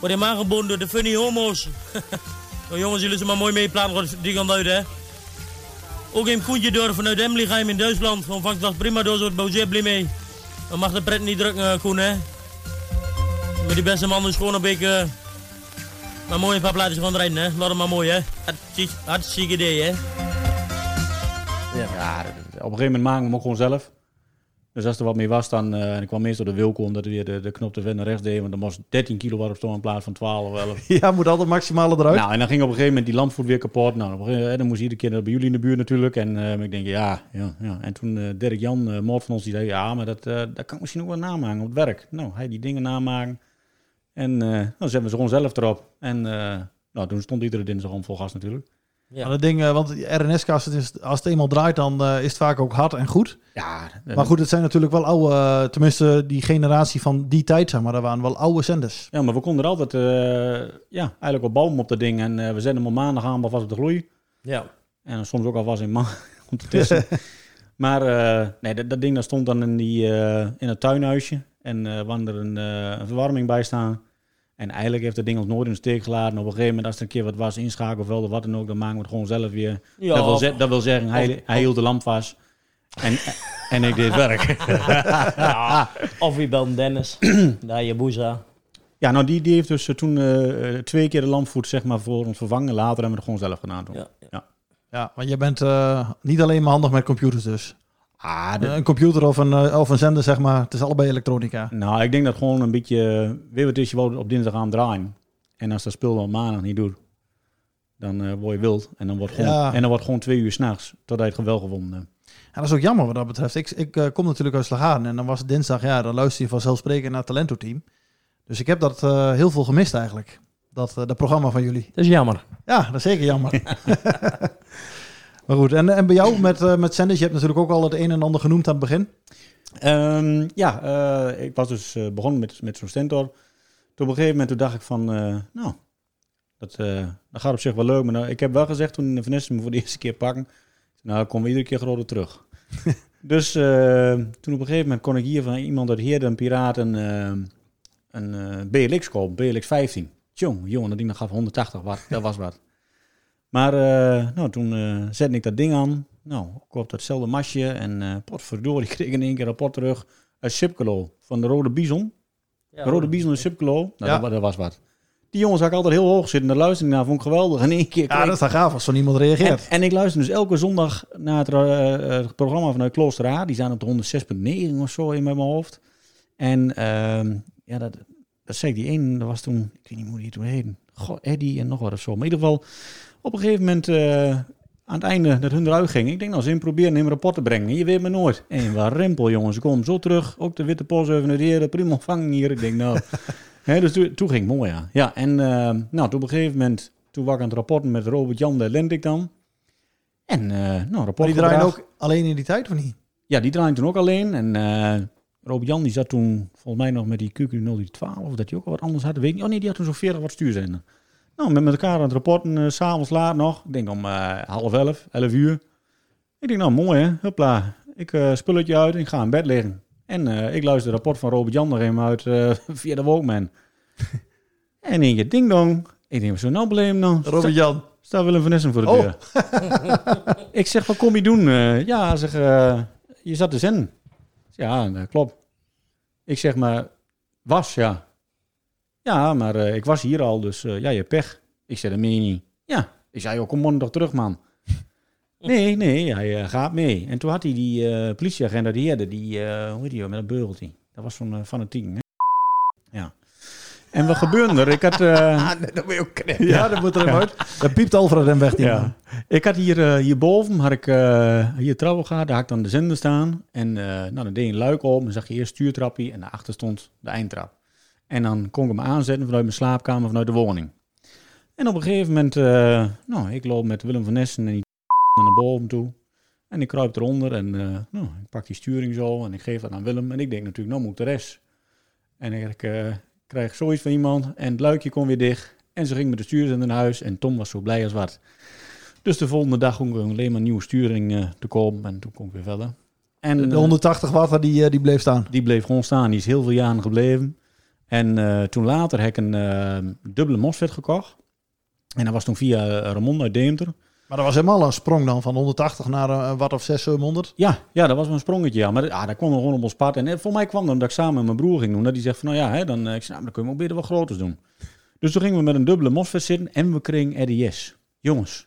Speaker 6: Wordt hem aangeboden door de Funny Homo's. [LAUGHS] nou jongens, jullie zijn maar mooi mee. Plaat wordt die kant uit, hè. Ook in Koentjedorf vanuit Emlichheim in Duitsland. Ontvangst was prima door zo'n Bouzier mee. Dan mag de pret niet drukken, eh, Koen, hè? Maar die beste man is gewoon een beetje... eh, maar mooi een paar plaatjes gewoon rijden, hè. Laat hem maar mooi, hè. Hartstikke- Hartstikke idee, hè.
Speaker 3: Ja, dat- op een gegeven moment maken we hem ook gewoon zelf. Dus als er wat meer was, dan eh, en ik kwam meestal de Wilco omdat hij weer de, de knop te ver naar rechts deed. Want dan moest 13 kilo op stonden in plaats van 12 of 11.
Speaker 1: [LAUGHS] Ja, moet altijd maximale eruit.
Speaker 3: Nou, en dan ging op een gegeven moment die lampvoet weer kapot. Nou, op een gegeven moment, dan moest iedere keer naar bij jullie in de buurt natuurlijk. En eh, ik denk, ja, ja, ja. En toen eh Dirk Jan, eh Moord van ons, die zei, ja, maar dat, eh, dat kan ik misschien ook wel namaken op het werk. Nou, hij die dingen namaken. En eh, dan zetten we ze gewoon zelf erop. En eh, nou, toen stond iedere dinsdag om vol gas natuurlijk.
Speaker 1: Maar dat ding, eh, want RNS-kast, het is- als het eenmaal draait, dan eh, is het vaak ook hard en goed.
Speaker 3: Ja,
Speaker 1: maar goed, het zijn natuurlijk wel oude, eh, tenminste die generatie van die tijd, zeg maar, dat waren wel oude zenders.
Speaker 3: Ja, maar we konden er altijd, eh, ja, eigenlijk op bouwen op dat ding. En eh, we zetten hem op maandag aan, alvast op de gloei.
Speaker 2: Ja.
Speaker 3: En dan soms ook alvast in man [LAUGHS] om
Speaker 2: [LAUGHS]
Speaker 3: te testen. maar eh, nee, dat, dat ding dat stond dan in, die, eh, in het tuinhuisje. En eh we hadden er een, eh, een verwarming bij staan. En eigenlijk heeft dat ding ons nooit in de steek gelaten. Op een gegeven moment, als er een keer wat was, inschakelen of wel, of wat dan ook, dan maken we het gewoon zelf weer.
Speaker 2: Ja.
Speaker 3: dat, wil ze- dat wil zeggen, hij,
Speaker 2: Of-
Speaker 3: hij hield de lamp vast. En, en ik deed het werk.
Speaker 2: [LAUGHS] Ja, Of wie
Speaker 6: [CLEARS THROAT]
Speaker 2: belt Dennis. Daar je boeza.
Speaker 3: Ja, nou die, die heeft dus eh, toen eh, eh, twee keer de lampvoet zeg maar, voor ons vervangen. Later hebben we het gewoon zelf gedaan. Toen. Ja, ja.
Speaker 1: Ja, want je bent eh, niet alleen maar handig met computers dus.
Speaker 3: Ah,
Speaker 1: Eh, Een computer of een, eh, of een zender, zeg maar, het is allebei elektronica.
Speaker 3: Nou, ik denk dat gewoon een beetje... eh, Weet wat het is, je wil op dinsdag aan draaien. En als dat spul dan maandag niet doet, dan eh, word je wild. En dan wordt gewoon,
Speaker 1: Ja.
Speaker 3: en dan wordt gewoon twee uur s'nachts, totdat je het wel gewonnen hebt.
Speaker 1: Ja, dat is ook jammer wat dat betreft. Ik, ik eh, kom natuurlijk uit Slagharen en dan was het dinsdag, ja, dan luister je vanzelfsprekend naar het Talento-team. Dus ik heb dat eh, heel veel gemist eigenlijk, dat, eh, dat programma van jullie.
Speaker 2: Dat is jammer.
Speaker 1: Ja, dat is zeker jammer. [LAUGHS] maar goed, en, en bij jou met, eh, met zenders, je hebt natuurlijk ook al het een en ander genoemd aan het begin.
Speaker 3: Ehm, ja, eh, ik was dus eh, begonnen met, met zo'n stentor. Toen op een gegeven moment toen dacht ik van, eh, nou, dat, eh, dat gaat op zich wel leuk. Maar nou, ik heb wel gezegd toen de Vanessa me voor de eerste keer pakken, nou, komen we iedere keer groter terug. dus eh, toen op een gegeven moment kon ik hier van iemand uit Heerde, een piraat, een, eh, een eh, BLX kopen, BLX 15. Tjong, jongen, dat ding dat gaf 180 watt, dat was wat. Maar eh, nou, toen eh, zette ik dat ding aan. Nou, ik op datzelfde masje. En eh potverdorie, [LAUGHS] ik kreeg in één keer een rapport terug. Uit Sipkelo, van de Rode Bison.
Speaker 2: Ja,
Speaker 3: de Rode
Speaker 2: Rode
Speaker 3: Bison uit Sipkelo. Nou,
Speaker 1: Ja.
Speaker 3: dat, wa- dat was wat. Die jongens had ik altijd heel hoog zitten. Daar luisterde ik naar, vond ik geweldig. En in één keer
Speaker 1: Ja,
Speaker 3: kreeg-
Speaker 1: dat is dan gaaf als zo iemand
Speaker 3: en,
Speaker 1: reageert.
Speaker 3: en ik luister dus elke zondag naar het, eh, eh, programma vanuit Klooster A. Die staan op de 106.9 of zo in mijn hoofd. En ehm, ja, dat, dat zei ik die één, dat was toen, ik weet niet hoe die toen heette. Goh, Eddie en nog wat of zo. Maar in ieder geval, op een gegeven moment, eh, aan het einde dat hun eruit gingen. Ik denk, nou, ze proberen hem rapport te brengen. Je weet me nooit. En waar rempel, jongens. Ik kom zo terug. Ook de witte pols even naar de heren. Prima ontvangen hier. Ik denk,
Speaker 1: [LAUGHS]
Speaker 3: nou... Hè, dus toen, toen ging het mooi, ja. Ja, en ehm, nou, toen op een gegeven moment... Toen was ik aan het rapport met Robert-Jan de Lendik dan. En, eh, nou, rapport
Speaker 1: Maar die draaien
Speaker 3: gebracht.
Speaker 1: ook alleen in die tijd of niet?
Speaker 3: Ja, die draaide toen ook alleen. En eh Robert-Jan die zat toen volgens mij nog met die QQ012. Of dat hij ook al wat anders had. Weet ik niet. Oh nee, die had toen zo'n 40 wat stuurzender. Nou, met met elkaar aan het rapporten. eh, s S'avonds laat nog. Ik denk om eh, half elf, elf uur. Ik denk nou, mooi hè. Hopla. Ik eh spulletje uit en ik ga in bed liggen. En eh, ik luister het rapport van Robert-Jan nog even uit eh, [LAUGHS] via de Walkman. en in je ding dong. Ik denk, wat is er nou probleem dan?
Speaker 1: Robert-Jan.
Speaker 3: Staat Willem van Nessen voor de deur. ik zeg, wat kom je doen? Eh, ja, zeg, eh, je zat te zenden. Ik zeg, Ja, dat klopt. Ik zeg maar, was, ja. Ja, maar eh, ik was hier al, dus eh, ja, je hebt pech. Ik zeg, dat meen je niet. Ja, ik zei, joh, kom morgen toch terug, man. Nee, nee, hij eh, gaat mee. En toen had hij die eh, politieagent uit Heerde, die, eh, hoe heet die, joh, met een beugeltje. Dat was zo'n eh, fanatiek, hè? Ja. En wat gebeurde er? Ik had... eh,
Speaker 1: dat moet je ook knippen. [LAUGHS] Ja, dat moet er even uit. Dat piept Alfred hem weg. Die
Speaker 3: ja.
Speaker 1: man.
Speaker 3: Ik had hier, eh, hierboven, had ik eh, hier trouwen gehad, daar had ik dan de zender staan. En eh, nou, dan deed je een luik op en zag je eerst stuurtrappie en daarachter stond de eindtrap. En dan kon ik hem aanzetten vanuit mijn slaapkamer, vanuit de woning. En op een gegeven moment, eh, nou, ik loop met Willem van Nessen en die [LAUGHS] naar boven toe. En ik kruip eronder en eh, nou, ik pak die sturing zo en ik geef dat aan Willem. En ik denk natuurlijk, nou moet ik de rest. En ik eh, krijg zoiets van iemand en het luikje kon weer dicht. En ze ging met de stuurzender naar huis en Tom was zo blij als wat. Dus de volgende dag kon ik alleen maar een nieuwe sturing eh, te komen en toen kon ik weer verder. En,
Speaker 1: De, de
Speaker 3: eh,
Speaker 1: 180 watt, die, eh, die bleef staan.
Speaker 3: die bleef gewoon staan. Die is heel veel jaren gebleven. En eh, toen later heb ik een eh, dubbele MOSFET gekocht. En dat was toen via eh, Ramon uit Deemter.
Speaker 1: Maar dat was helemaal een sprong dan van 180 naar eh, wat of 600, 700.
Speaker 3: Ja, ja, dat was wel een sprongetje. Ja. Maar ah, dat kwam gewoon op ons pad. En eh, voor mij kwam dat omdat ik samen met mijn broer ging doen. Dat die zegt van, nou ja, hè, dan, eh, ik zei, nou, dan kunnen we ook beter wat groters doen. Dus toen gingen we met een dubbele MOSFET zitten en we kregen RDS. Jongens,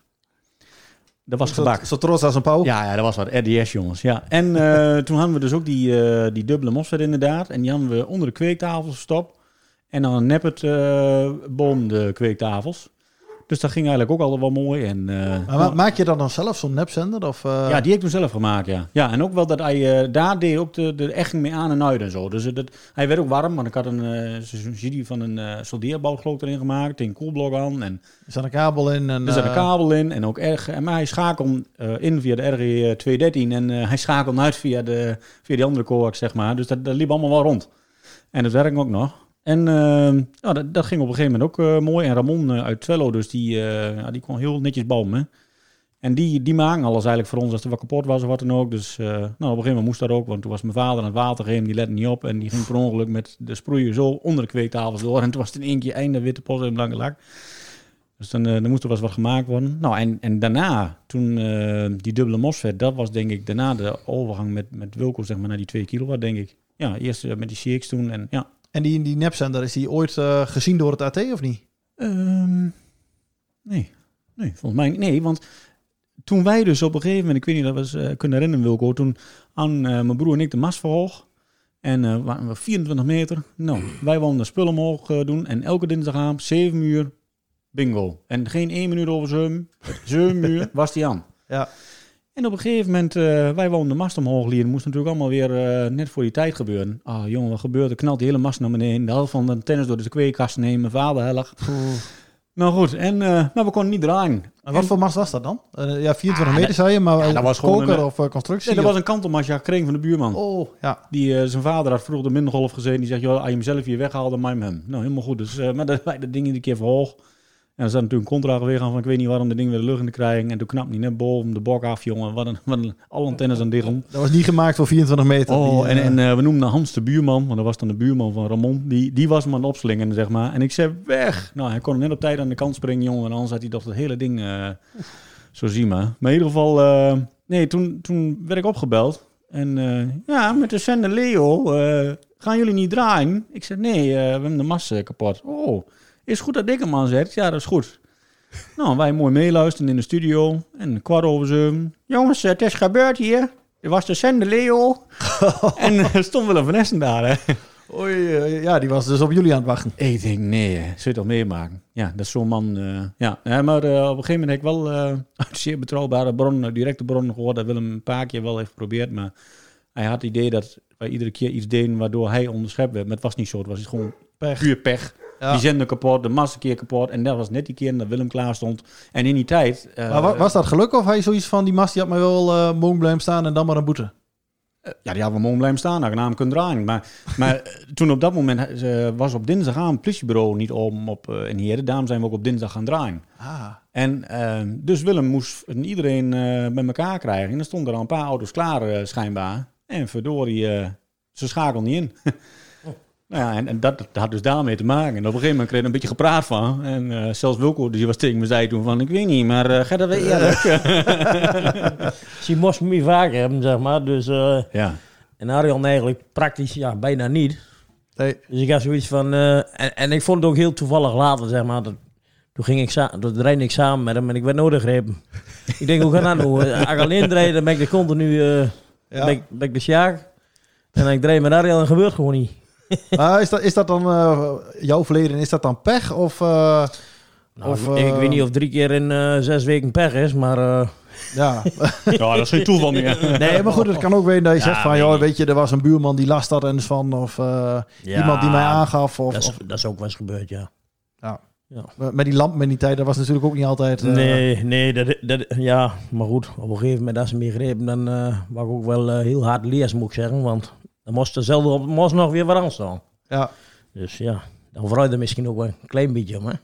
Speaker 3: dat was
Speaker 1: Zo-
Speaker 3: gebak.
Speaker 1: Zo trots als een pauw.
Speaker 3: Ja, ja, dat was wat. RDS, jongens. Ja. En eh, toen hadden we dus ook die, eh, die dubbele MOSFET inderdaad. En die hadden we onder de kweektafel verstopt. En dan neppert eh boom de kweektafels. Dus dat ging eigenlijk ook altijd wel mooi. En, eh,
Speaker 1: Maar wa- maak je dan dan zelf zo'n nepzender? Of, eh,
Speaker 3: ja, die heb ik toen zelf gemaakt, ja. Ja, en ook wel dat hij eh, daar deed ook de, de echt mee aan en uit en zo. Dus eh, dat, hij werd ook warm, want ik had een eh, subsidie van een eh soldeerbal geloof ik, erin gemaakt, een koelblok aan. En,
Speaker 1: er zat een kabel in. En,
Speaker 3: Dus er zat een
Speaker 1: eh,
Speaker 3: kabel in en ook erg. en Maar hij schakelde eh, in via de RG213 en eh, hij schakelde uit via, de, via die andere coax, zeg maar. Dus dat, dat liep allemaal wel rond. En dat werkte ook nog. En eh, ja, dat, dat ging op een gegeven moment ook eh, mooi. En Ramon eh, uit Twello, dus die, eh, ja, die kon heel netjes bomen. hè. En die, die maakte alles eigenlijk voor ons als er wat kapot was of wat dan ook. Dus eh, nou, op een gegeven moment moest dat ook. Want toen was mijn vader aan het water heen, die lette niet op. En die ging per ongeluk met de sproeier zo onder de kweektafels door. En toen was het in één keer einde witte post en blanke lak. Dus dan, eh, dan moest er wel eens wat gemaakt worden. Nou, en, en daarna, toen eh, die dubbele MOSFET, dat was denk ik daarna de overgang met, met Wilco zeg maar, naar die 2 kilowatt, denk ik. Ja, eerst eh, met die CX toen en ja.
Speaker 1: En die, die nepzender, is die ooit eh, gezien door het AT of niet?
Speaker 3: Ehm, nee. Nee, volgens mij nee, want toen wij dus op een gegeven moment, ik weet niet, dat was eh kunnen herinneren Wilco, toen aan eh, mijn broer en ik de mast verhoog. En eh, waren we 24 meter. Nou, wij wouden de spullen omhoog eh, doen. En elke dinsdagavond, 7 uur, bingo. En geen één minuut over 7, 7 uur was die aan.
Speaker 1: Ja.
Speaker 3: En op een gegeven moment, eh, wij woonden de mast omhoog lieren. Moest natuurlijk allemaal weer eh, net voor die tijd gebeuren. Ah, jongen, wat gebeurt er? Knalt die hele mast naar beneden. De helft van de tennis door de kweekkast nemen. Vader helg. Nou goed, en, eh, maar we konden niet draaien.
Speaker 1: En wat voor mast was dat dan? Eh, ja, 24 meter
Speaker 3: dat-
Speaker 1: zei je, maar
Speaker 3: ja, dat was gewoon
Speaker 1: koker
Speaker 3: een-
Speaker 1: of eh, constructie?
Speaker 3: Nee, dat
Speaker 1: of-
Speaker 3: was een kantelmast, ja, kreeg van de buurman.
Speaker 1: Oh, ja.
Speaker 3: Die, eh, zijn vader had vroeger de middengolf gezeten. Die zegt, joh, als je hem zelf hier weghaalt, dan maai hem. Nou, helemaal goed. Dus, eh, maar dat, wij dat ding een keer verhoog. En er zat natuurlijk een contract weer aan van, ik weet niet waarom dat ding weer de lucht in te krijgen. En toen knapte hij net boven de bok af, jongen. Wat een, wat een, alle antennes aan dicht om.
Speaker 1: Dat was niet gemaakt voor 24 meter.
Speaker 3: Oh,
Speaker 1: Die,
Speaker 3: en,
Speaker 1: eh,
Speaker 3: en eh, we noemden Hans de buurman, want dat was dan de buurman van Ramon. Die, die was hem aan het opslingen, zeg maar. En ik zei, weg! Nou, hij kon net op tijd aan de kant springen, jongen. En anders had hij toch het hele ding, eh, zo zie maar. Maar in ieder geval, eh, nee, toen, toen werd ik opgebeld. En eh, ja, met de zender Leo, eh, gaan jullie niet draaien? Ik zei, nee, eh, we hebben de massa kapot. Oh, is goed dat ik hem aanzet? Ja, dat is goed. [LAUGHS] Nou, wij mooi meeluisteren in de studio. En kwart over zeven. Jongens, eh, het is gebeurd hier. Er was de zender Leo. en er [LAUGHS] stond wel een Van Essen daar, hè?
Speaker 1: Oei, eh, ja, die was dus op jullie aan het wachten.
Speaker 3: Ik denk, nee, hè, zul je toch meemaken? Ja, dat is zo'n man. eh, ja. Nee, maar eh, op een gegeven moment heb ik wel eh, [LAUGHS] uit zeer betrouwbare bronnen, directe bronnen gehoord. Dat Willem een paar keer wel heeft geprobeerd. Maar hij had het idee dat wij iedere keer iets deden waardoor hij onderschept werd. Maar het was niet zo. Het was gewoon
Speaker 1: Pech.
Speaker 3: puur pech.
Speaker 1: Ja.
Speaker 3: Die zender kapot, de massa keer kapot. En dat was net die keer dat Willem klaar stond. En in die tijd... eh,
Speaker 1: maar wa- was dat geluk of hij zoiets van, die mast die had mij wel eh mogen blijven staan en dan maar een boete?
Speaker 3: Ja, die hadden we mogen blijven staan, had ik naam kunnen draaien. Maar, maar toen op dat moment eh, was op dinsdag aan het politiebureau niet om op, eh, in Heren. Daarom zijn we ook op dinsdag gaan draaien.
Speaker 1: Ah.
Speaker 3: En eh, dus Willem moest iedereen eh, bij elkaar krijgen. En er stonden er al een paar auto's klaar eh, schijnbaar. En verdorie, eh, ze schakelden niet in. [LAUGHS] Nou ja, en, en dat, dat had dus daarmee te maken. En op een gegeven moment kreeg ik er een beetje gepraat van. En eh, zelfs Wilco, die was tegen me, zei toen van... Ik weet niet, maar eh, ga dat weer
Speaker 6: [LAUGHS]
Speaker 3: eerlijk.
Speaker 2: Ze moest me vaak hebben, zeg maar. Dus, eh,
Speaker 3: Ja.
Speaker 2: En Arjan eigenlijk praktisch ja, bijna niet. Dus ik had zoiets van... eh, en, en ik vond het ook heel toevallig later, zeg maar. Dat, toen ging ik sa- toen reed ik samen met hem en ik werd nodig gegrepen. ik denk, hoe gaat
Speaker 1: [LAUGHS]
Speaker 2: dat nou? Als ik alleen rijd, dan ben ik de continu... eh ben, ik, ben ik de sjaak. En dan ik draai met Arjan, dan gebeurt gewoon niet.
Speaker 1: Maar is, dat, is dat dan eh, jouw verleden, is dat dan pech? Of, [LAUGHS] eh,
Speaker 2: Nou,
Speaker 1: of,
Speaker 2: ik, ik
Speaker 1: eh,
Speaker 2: weet niet of drie keer in eh, zes weken pech is, maar... eh,
Speaker 1: Ja.
Speaker 3: Ja, dat is geen toeval
Speaker 1: [LAUGHS]
Speaker 3: meer.
Speaker 1: Nee, maar goed, het kan ook weer dat je
Speaker 2: Ja,
Speaker 1: zegt van,
Speaker 2: weet
Speaker 1: joh,
Speaker 2: ik.
Speaker 1: weet je, er was een buurman die last had en is van, of eh,
Speaker 2: Ja,
Speaker 1: iemand die mij aangaf. Of,
Speaker 2: dat, is,
Speaker 1: of-
Speaker 2: dat is ook wel eens gebeurd, ja.
Speaker 1: ja.
Speaker 2: Ja.
Speaker 1: Met die lamp in die tijd, dat was natuurlijk ook niet altijd... eh,
Speaker 2: Nee, nee, dat, dat, ja, maar goed, op een gegeven moment als ze me grepen, dan eh was ik ook wel eh, heel hard leers, moet ik zeggen, want dan moest er zelden op, moest nog weer wat anders dan.
Speaker 1: Ja.
Speaker 2: Dus ja, dan verruimde misschien ook wel een klein beetje, maar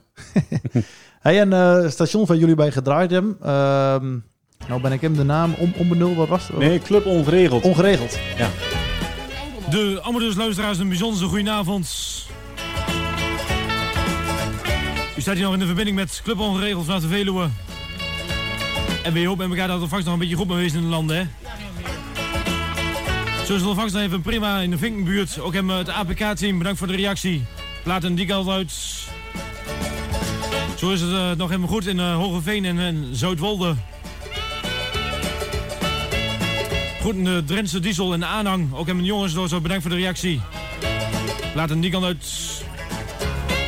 Speaker 1: Hey, en eh station van jullie bij gedraaid hebben. ehm, nou ben ik hem de naam on, onbenul, wat was het?
Speaker 3: Nee, Club Ongeregeld.
Speaker 1: Ongeregeld.
Speaker 3: Ja.
Speaker 8: De Amateurs luisteraars, een bijzondere goedenavond. U staat hier nog in de verbinding met Club Ongeregeld vanaf de Veluwe.
Speaker 11: En we hopen en elkaar dat de vangst nog een beetje goed mee is in de landen, hè? Zo is de vangst nog even prima in de Vinkenbuurt. Ook hem eh, het APK-team, bedankt voor de reactie. Platen die kant uit. Zo is het eh, nog even goed in eh, Hogeveen en, en Zuidwolde. Goed in de Drentse diesel en de aanhang. Ook hem de jongens door, zo bedankt voor de reactie. Platen die kant uit.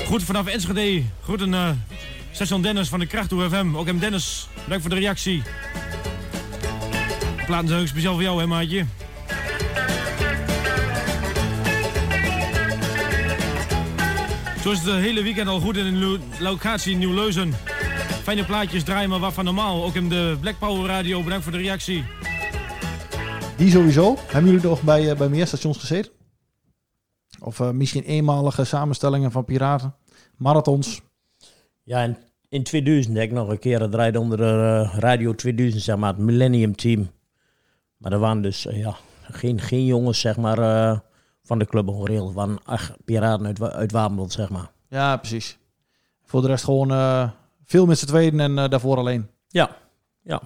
Speaker 11: Goed vanaf Enschede. Goed een eh station Dennis van de Krachttoe FM. Ook hem Dennis, bedankt voor de reactie. De Platen zijn ook speciaal voor jou, hè maatje. Zo is het de hele weekend al goed in een lo- locatie in Nieuw-Leuzen. Fijne plaatjes draaien, maar wat van normaal. Ook in de Black Power Radio, bedankt voor de reactie.
Speaker 1: Die sowieso. Hebben jullie nog bij, eh, bij meer stations gezeten? Of eh, misschien eenmalige samenstellingen van piraten? Marathons?
Speaker 2: Ja, en in 2000 heb ik nog een keer gedraaid onder de eh, Radio 2000, zeg maar, het Millennium Team. Maar er waren dus eh, ja, geen, geen jongens, zeg maar, eh, van de Club Horeel. Het waren acht piraten uit, Wa- uit Wapenland, zeg maar.
Speaker 1: Ja, precies. Voor de rest gewoon eh, veel met z'n tweeën en eh, daarvoor alleen.
Speaker 2: Ja, ja.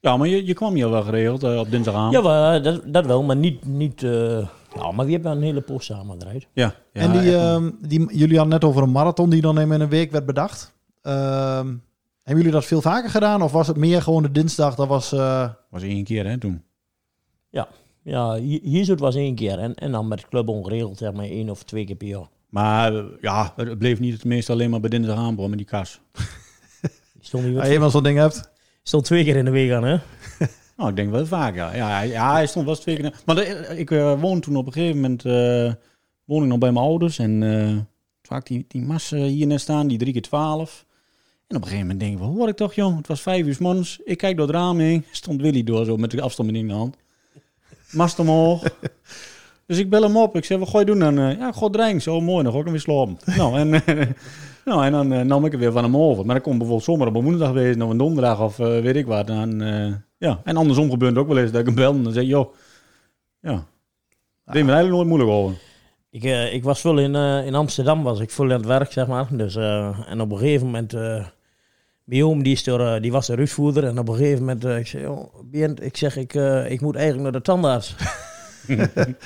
Speaker 3: Ja, maar je, je kwam hier wel geregeld eh, op dinsdagavond.
Speaker 2: Ja, maar, eh, dat, dat wel, maar niet... niet eh, nou, maar we hebben een hele post samen gedraaid.
Speaker 3: Ja.
Speaker 1: en die, ehm, die, jullie hadden net over een marathon die dan in een week werd bedacht. Ehm, hebben jullie dat veel vaker gedaan? Of was het meer gewoon de dinsdag? Dat was... eh,
Speaker 3: was één keer, hè, toen.
Speaker 2: Ja, ja hier, hier zo het was één keer. En, en dan met Club Ongeregeld, zeg maar, één of twee keer per jaar.
Speaker 3: Maar eh, ja, het bleef niet het meest alleen maar bij dinsdagavond, hoor, met die kas.
Speaker 2: Stond niet
Speaker 1: Als je eenmaal zo'n ding hebt.
Speaker 2: Stond twee keer in de week aan, hè?
Speaker 3: Nou, ik denk wel vaak, ja. Ja, hij- ja hij stond wel eens twee keer... Maar de- ik eh, woonde toen op een gegeven moment... eh woon ik nog bij mijn ouders. En eh vaak die, die massa hier net staan, die drie keer twaalf. En op een gegeven moment denk ik, wat hoor ik toch, jong? Het was vijf uur 's morgens. Ik kijk door het raam heen. [LAUGHS] Stond Willy door, zo met de afstandsbediening in de hand. Mast omhoog. Dus ik bel hem op. Ik zeg, wat ga je doen dan? Eh, Ja, god dreng. Zo mooi, nog ook hem weer slapen. Nou, en, [LAUGHS] eh, nou, en dan eh, nam ik het weer van hem over. Maar dat kon bijvoorbeeld zomaar op een woensdag wezen of een donderdag of eh, weet ik wat. Dan, eh, ja. En andersom gebeurt het ook wel eens dat ik hem bel en dan zeg ik, joh, ja. Ik deed me eigenlijk nooit moeilijk over.
Speaker 2: Ik, eh, ik was veel in, eh, in Amsterdam, was ik veel aan het werk, zeg maar. Dus, eh, en op een gegeven moment, eh mijn oom die, is door, eh, die was de uitvoerder. En op een gegeven moment, eh, ik zei, "Joh, Berend," ik, zeg, ik, eh, ik moet eigenlijk naar de [LAUGHS] tandarts.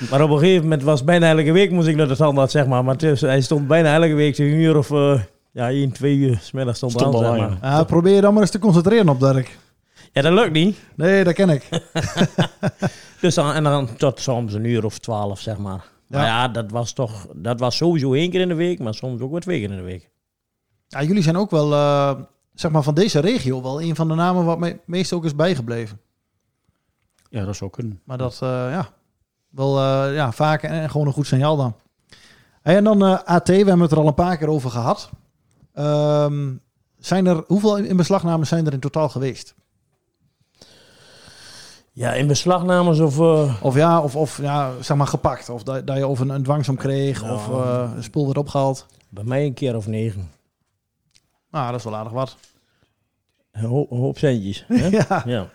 Speaker 2: maar op een gegeven moment was bijna elke week moest ik naar de tandarts, zeg maar. Maar het is- hij stond bijna elke week tegen een uur of eh, ja, 1, 2 uur smiddags stond,
Speaker 1: Stond
Speaker 2: aan,
Speaker 1: al
Speaker 2: zeg
Speaker 1: aan,
Speaker 2: maar.
Speaker 1: ja, Eh, probeer je dan maar eens te concentreren op, Dirk.
Speaker 2: Ja, dat lukt niet.
Speaker 1: Nee, dat ken [LAUGHS] ik.
Speaker 2: Dus dan, en dan tot soms een uur of twaalf, zeg maar. Maar ja, dat was toch, dat was sowieso één keer in de week, maar soms ook wel twee keer in de week.
Speaker 1: Ja, jullie zijn ook wel, eh, zeg maar, van deze regio wel een van de namen wat me meest ook is bijgebleven.
Speaker 3: Ja, dat zou kunnen.
Speaker 1: Maar dat, eh, ja, wel eh, ja, vaak en, en gewoon een goed signaal dan. Hey, en dan eh, AT, we hebben het er al een paar keer over gehad. Ehm, zijn er, hoeveel inbeslagnamen zijn er in totaal geweest?
Speaker 2: Ja, in beslagnames of...
Speaker 1: Of ja, of, of ja, zeg maar gepakt. Of dat, dat je of een, een dwangsom kreeg, of eh, een spul werd opgehaald.
Speaker 2: Bij mij een keer of negen.
Speaker 1: Nou, dat is wel aardig wat.
Speaker 2: Een ho- een hoop centjes. Hè?
Speaker 1: [LAUGHS] Ja.
Speaker 2: [LAUGHS] ja.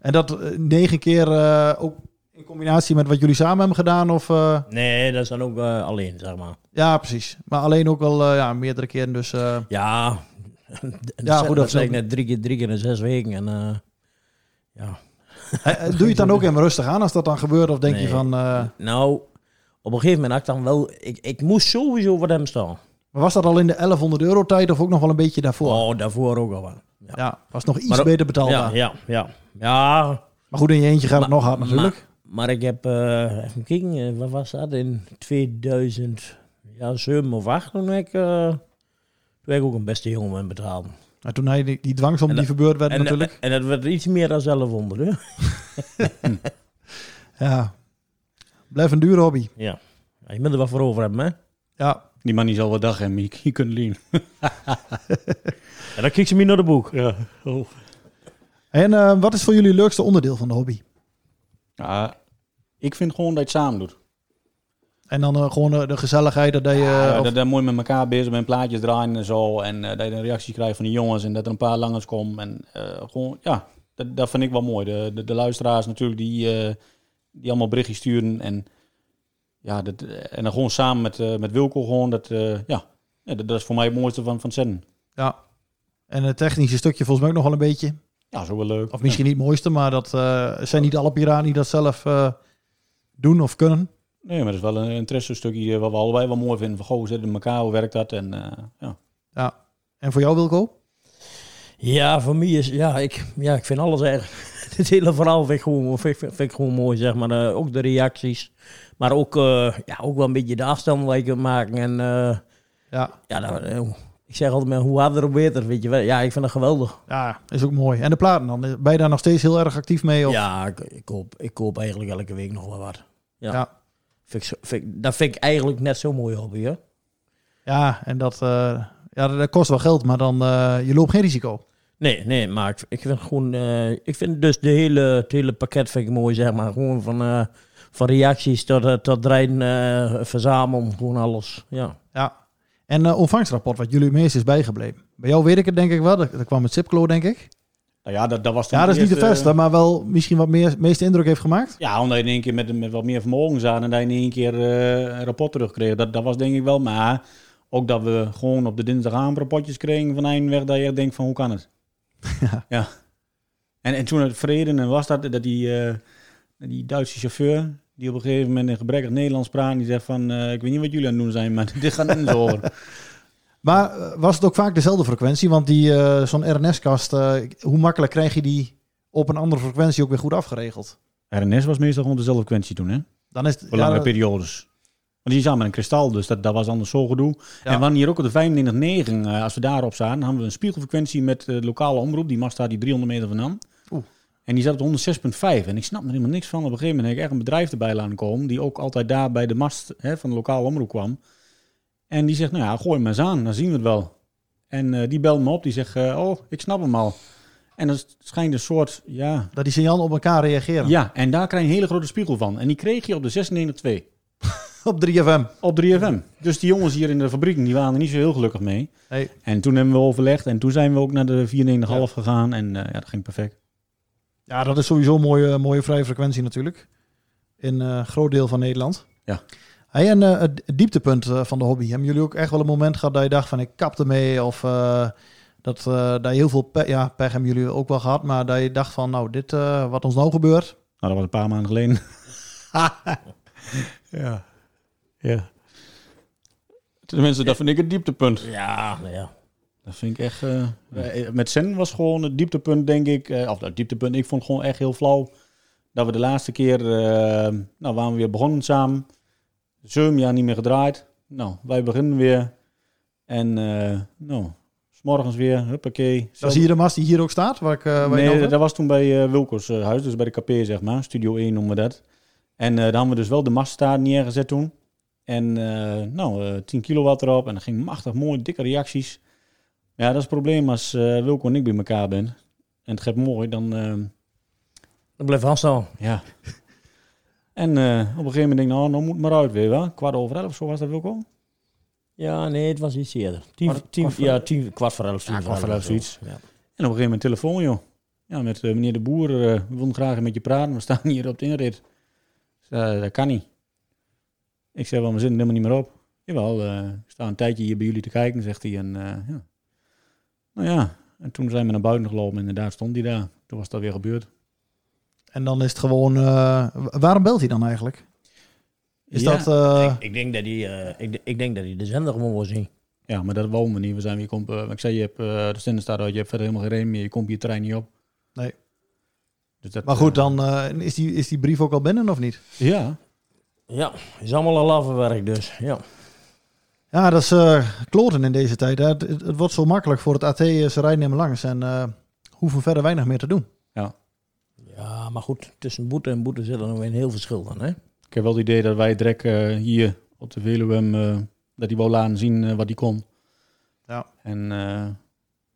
Speaker 1: En dat eh, negen keer eh, ook in combinatie met wat jullie samen hebben gedaan? Of, eh,
Speaker 2: Nee, dat is dan ook eh, alleen, zeg maar.
Speaker 1: ja, precies. Maar alleen ook wel eh, ja, meerdere keren. Dus, eh,
Speaker 2: [LAUGHS] Ja,
Speaker 1: Ja, goed, dat
Speaker 2: dat
Speaker 1: is
Speaker 2: zei ik
Speaker 1: ook-
Speaker 2: net drie keer, drie keer in zes weken. En, eh, ja.
Speaker 1: eh, doe je het dan ook even rustig aan als dat dan gebeurt? Of denk je
Speaker 2: Nee.
Speaker 1: van... eh,
Speaker 2: Nou, op een gegeven moment had ik dan wel... Ik, ik moest sowieso wat hem staan.
Speaker 1: maar was dat al in de 1100 euro tijd of ook nog wel een beetje daarvoor?
Speaker 2: Oh, daarvoor ook al wel.
Speaker 1: Ja, was nog iets
Speaker 2: Maar-
Speaker 1: beter betaalbaar.
Speaker 2: Ja, ja, ja. ja.
Speaker 1: Maar goed, in je eentje gaat het nog hard natuurlijk.
Speaker 2: Maar, maar ik heb, eh even kijken, eh, wat was dat? In 2007 of 8 toen heb ik, eh, toen heb ik ook een beste jongen ben betaald.
Speaker 1: Maar toen hij die, die dwangsom die verbeurd werd
Speaker 2: en, eh,
Speaker 1: natuurlijk.
Speaker 2: En, dat werd iets meer dan 1100, hè?
Speaker 1: ja. Blijf een dure hobby.
Speaker 2: ja. Ja, Je moet er wat voor over hebben, hè?
Speaker 1: Ja.
Speaker 3: Die man die zal wel dag hebben, je, je kunt lien.
Speaker 2: En dan kijkt ze me naar de boek.
Speaker 3: Ja.
Speaker 1: En eh, wat is voor jullie het leukste onderdeel van de hobby?
Speaker 3: Ja, ik vind gewoon dat je het samen doet.
Speaker 1: En dan eh, gewoon eh, de gezelligheid dat je...
Speaker 3: Ja,
Speaker 1: eh, of-
Speaker 3: dat, dat mooi met elkaar bezig bent, plaatjes draaien en zo. En eh, dat je een reactie krijgt van de jongens en dat er een paar langers komen. En eh, gewoon, ja, dat, dat vind ik wel mooi. De, de, de luisteraars natuurlijk die, eh, die allemaal berichtjes sturen. En, ja, dat, en dan gewoon samen met, eh, met Wilco gewoon. Dat, eh, ja, ja, dat, dat is voor mij het mooiste van, van Zen.
Speaker 1: Ja. En het technische stukje volgens mij ook nog wel een beetje.
Speaker 3: Ja, zo wel leuk.
Speaker 1: Of misschien niet het mooiste, maar dat eh, zijn niet alle piraten die dat zelf eh, doen of kunnen.
Speaker 3: Nee, maar dat is wel een interesse stukje eh, wat we allebei wel mooi vinden. Van, goh, hoe zit het in elkaar? Hoe werkt dat? En eh, ja.
Speaker 1: Ja. En voor jou, Wilco?
Speaker 2: Ja, voor mij is... Ja, ik, ja, ik vind alles erg. [LAUGHS] Dit hele verhaal vind ik gewoon, vind, vind- vind ik gewoon mooi, zeg maar. Eh, ook de reacties. Maar ook, eh, ja, ook wel een beetje de afstand waar je kunt maken. En, eh,
Speaker 1: ja.
Speaker 2: Ja, nou, eh, ik zeg altijd maar, hoe harder hoe beter, weet je wel. Ja, ik vind dat geweldig.
Speaker 1: Ja, is ook mooi. En de platen dan? Ben je daar nog steeds heel erg actief mee? Of?
Speaker 2: Ja, ik, ik, koop, ik koop eigenlijk elke week nog wel wat. Ja.
Speaker 1: Ja.
Speaker 2: Vind ik, zo- vind ik- dat vind ik eigenlijk net zo'n mooie hobby, hè.
Speaker 1: Ja, en dat, eh, ja, dat kost wel geld, maar dan eh, je loopt geen risico.
Speaker 2: Nee, nee, maar ik, ik vind gewoon, eh, ik vind dus de hele, het hele pakket vind ik mooi, zeg maar. Gewoon van, eh, van reacties tot, eh, tot rijden, eh, verzamelen, gewoon alles. Ja.
Speaker 1: Ja. En eh ontvangstrapport, wat jullie het meest is bijgebleven. Bij jou weet ik het denk ik wel. Dat, dat kwam met Sipklo, denk ik.
Speaker 3: Nou ja, dat, dat was dan
Speaker 1: Ja, dat is niet de
Speaker 3: eerste-
Speaker 1: beste, maar wel misschien wat meer meeste indruk heeft gemaakt.
Speaker 3: Ja, omdat je in één keer met, met wat meer vermogen zat en dat je in één keer eh, een rapport terugkreeg. Dat, dat was denk ik wel. Maar ook dat we gewoon op de dinsdagavond rapportjes kregen van Eindweg, dat je echt denkt van hoe kan het? [LAUGHS] Ja. En, en toen het vrede en was dat, dat die, eh, die Duitse chauffeur, die op een gegeven moment in gebrekkig Nederlands praat, die zegt van eh, ik weet niet wat jullie aan het doen zijn, maar [LAUGHS] dit gaat niet zo over. [LAUGHS]
Speaker 1: Maar eh, was het ook vaak dezelfde frequentie? Want die, eh, zo'n RNS-kast, eh, hoe makkelijk krijg je die op een andere frequentie ook weer goed afgeregeld?
Speaker 3: RNS was meestal gewoon dezelfde kwestie toen, hè?
Speaker 1: Dan is het-
Speaker 3: Voor langere
Speaker 1: ja, dat-
Speaker 3: periodes. Want die zaten met een kristal, dus dat, dat was anders zo gedoe. En we hadden hier ook op de 25 eh, als we daarop zaten, hadden we een spiegelfrequentie met eh, de lokale omroep. Die mast daar die 300 meter vandaan.
Speaker 1: Oeh.
Speaker 3: En die zat op de 106,5. En ik snap er helemaal niks van. Op een gegeven moment heb ik echt een bedrijf erbij laten komen, die ook altijd daar bij de mast hè, van de lokale omroep kwam. En die zegt, nou ja, gooi hem eens aan, dan zien we het wel. En eh, die belt me op, die zegt, eh, oh, ik snap hem al. En dat schijnt een soort, ja,
Speaker 1: Dat die signalen op elkaar reageren.
Speaker 3: ja, en daar krijg je een hele grote spiegel van. En die kreeg je op de 96.2.
Speaker 1: [LAUGHS] op 3FM.
Speaker 3: Op 3FM. Dus die jongens hier in de fabriek, die waren er niet zo heel gelukkig mee.
Speaker 1: Nee.
Speaker 3: En toen hebben we overlegd en toen zijn we ook naar de 94,5 gegaan. En eh, ja, dat ging perfect.
Speaker 1: Ja, dat is sowieso een mooie, mooie vrije frequentie natuurlijk. In eh, een groot deel van Nederland.
Speaker 3: Ja.
Speaker 1: Hey, en eh, het dieptepunt eh, van de hobby. Hebben jullie ook echt wel een moment gehad dat je dacht van ik kap ermee? Of eh, dat, eh dat je heel veel pech, ja, pech hebben jullie ook wel gehad. Maar dat je dacht van nou, dit eh, wat ons nou gebeurt.
Speaker 3: Nou, dat was een paar maanden geleden. [LAUGHS] ja. Ja. Tenminste, dat vind ik het dieptepunt.
Speaker 2: Ja, nou ja.
Speaker 3: Dat vind ik echt... eh, eh, met Sen was gewoon het dieptepunt, denk ik. eh, of dat dieptepunt, ik vond het gewoon echt heel flauw. Dat we de laatste keer... eh, nou, waren we weer begonnen samen. Zeven jaar niet meer gedraaid. Nou, wij beginnen weer. En eh nou, smorgens weer, huppakee.
Speaker 1: Dan zie je de mast die hier ook staat. Waar ik, eh, waar je nou
Speaker 3: Nee, dat,
Speaker 1: bent?
Speaker 3: dat was toen bij eh, Wilco's eh, huis, dus bij de KP zeg maar. Studio 1 noemen we dat. En eh daar hadden we dus wel de mast daar neergezet toen. En eh, nou, eh 10 kilowatt erop. En dat ging machtig mooi, dikke reacties. Ja, dat is het probleem als eh, Wilco en ik bij elkaar ben. En het gaat mooi, dan... eh,
Speaker 2: dan blijft afstand.
Speaker 3: Ja. en eh, op een gegeven moment denk ik, nou, nou moet het maar uit weer, wel. Kwart over elf of zo was dat Wilco?
Speaker 2: Ja, nee, het was iets eerder. Tien,
Speaker 3: Kwart-
Speaker 2: tien,
Speaker 3: kwart voor-
Speaker 2: ja, tien, kwart voor elf. tien
Speaker 3: Ja, kwart voor elf,
Speaker 2: zo.
Speaker 3: zoiets.
Speaker 2: Ja.
Speaker 3: En op een gegeven moment telefoon, joh. Ja, met eh, meneer de Boer. eh, we wilden graag met je praten. We staan hier op de inrit. Ik zei, eh, dat kan niet. Ik zei, wel, we zitten er helemaal niet meer op. Jawel, eh ik sta een tijdje hier bij jullie te kijken, zegt hij. En, eh, ja. Nou ja, en toen zijn we naar buiten gelopen en daar stond hij daar. Toen was dat weer gebeurd.
Speaker 1: En dan is het gewoon. eh, wa- waarom belt hij dan eigenlijk? Is
Speaker 3: Ja,
Speaker 1: dat. eh,
Speaker 2: Ik, ik denk dat hij, eh, ik, ik denk dat hij de zender gewoon wil zien.
Speaker 3: Ja, maar dat wonen we niet. We zijn weer, kom, ik zei, je hebt, eh, de zender staat uit, je hebt verder helemaal geen reden meer. Je komt je terrein niet op.
Speaker 1: Nee.
Speaker 3: Dus dat,
Speaker 1: maar goed, dan eh, is, die, is die brief ook al binnen of niet?
Speaker 3: Ja.
Speaker 2: Ja, is allemaal al afwerk dus. Ja.
Speaker 1: Ja, dat is eh, kloten in deze tijd. Hè. Het, het- het wordt zo makkelijk voor het AT eh, ze rijden helemaal langs en eh, hoeven verder weinig meer te doen.
Speaker 2: ja, maar goed, tussen boete en boete zit er nog weer een heel verschil dan, hè?
Speaker 3: Ik heb wel het idee dat wij direct eh, hier op de Veluwe hem, eh, dat hij wou laten zien eh, wat hij kon.
Speaker 1: Ja.
Speaker 3: En eh,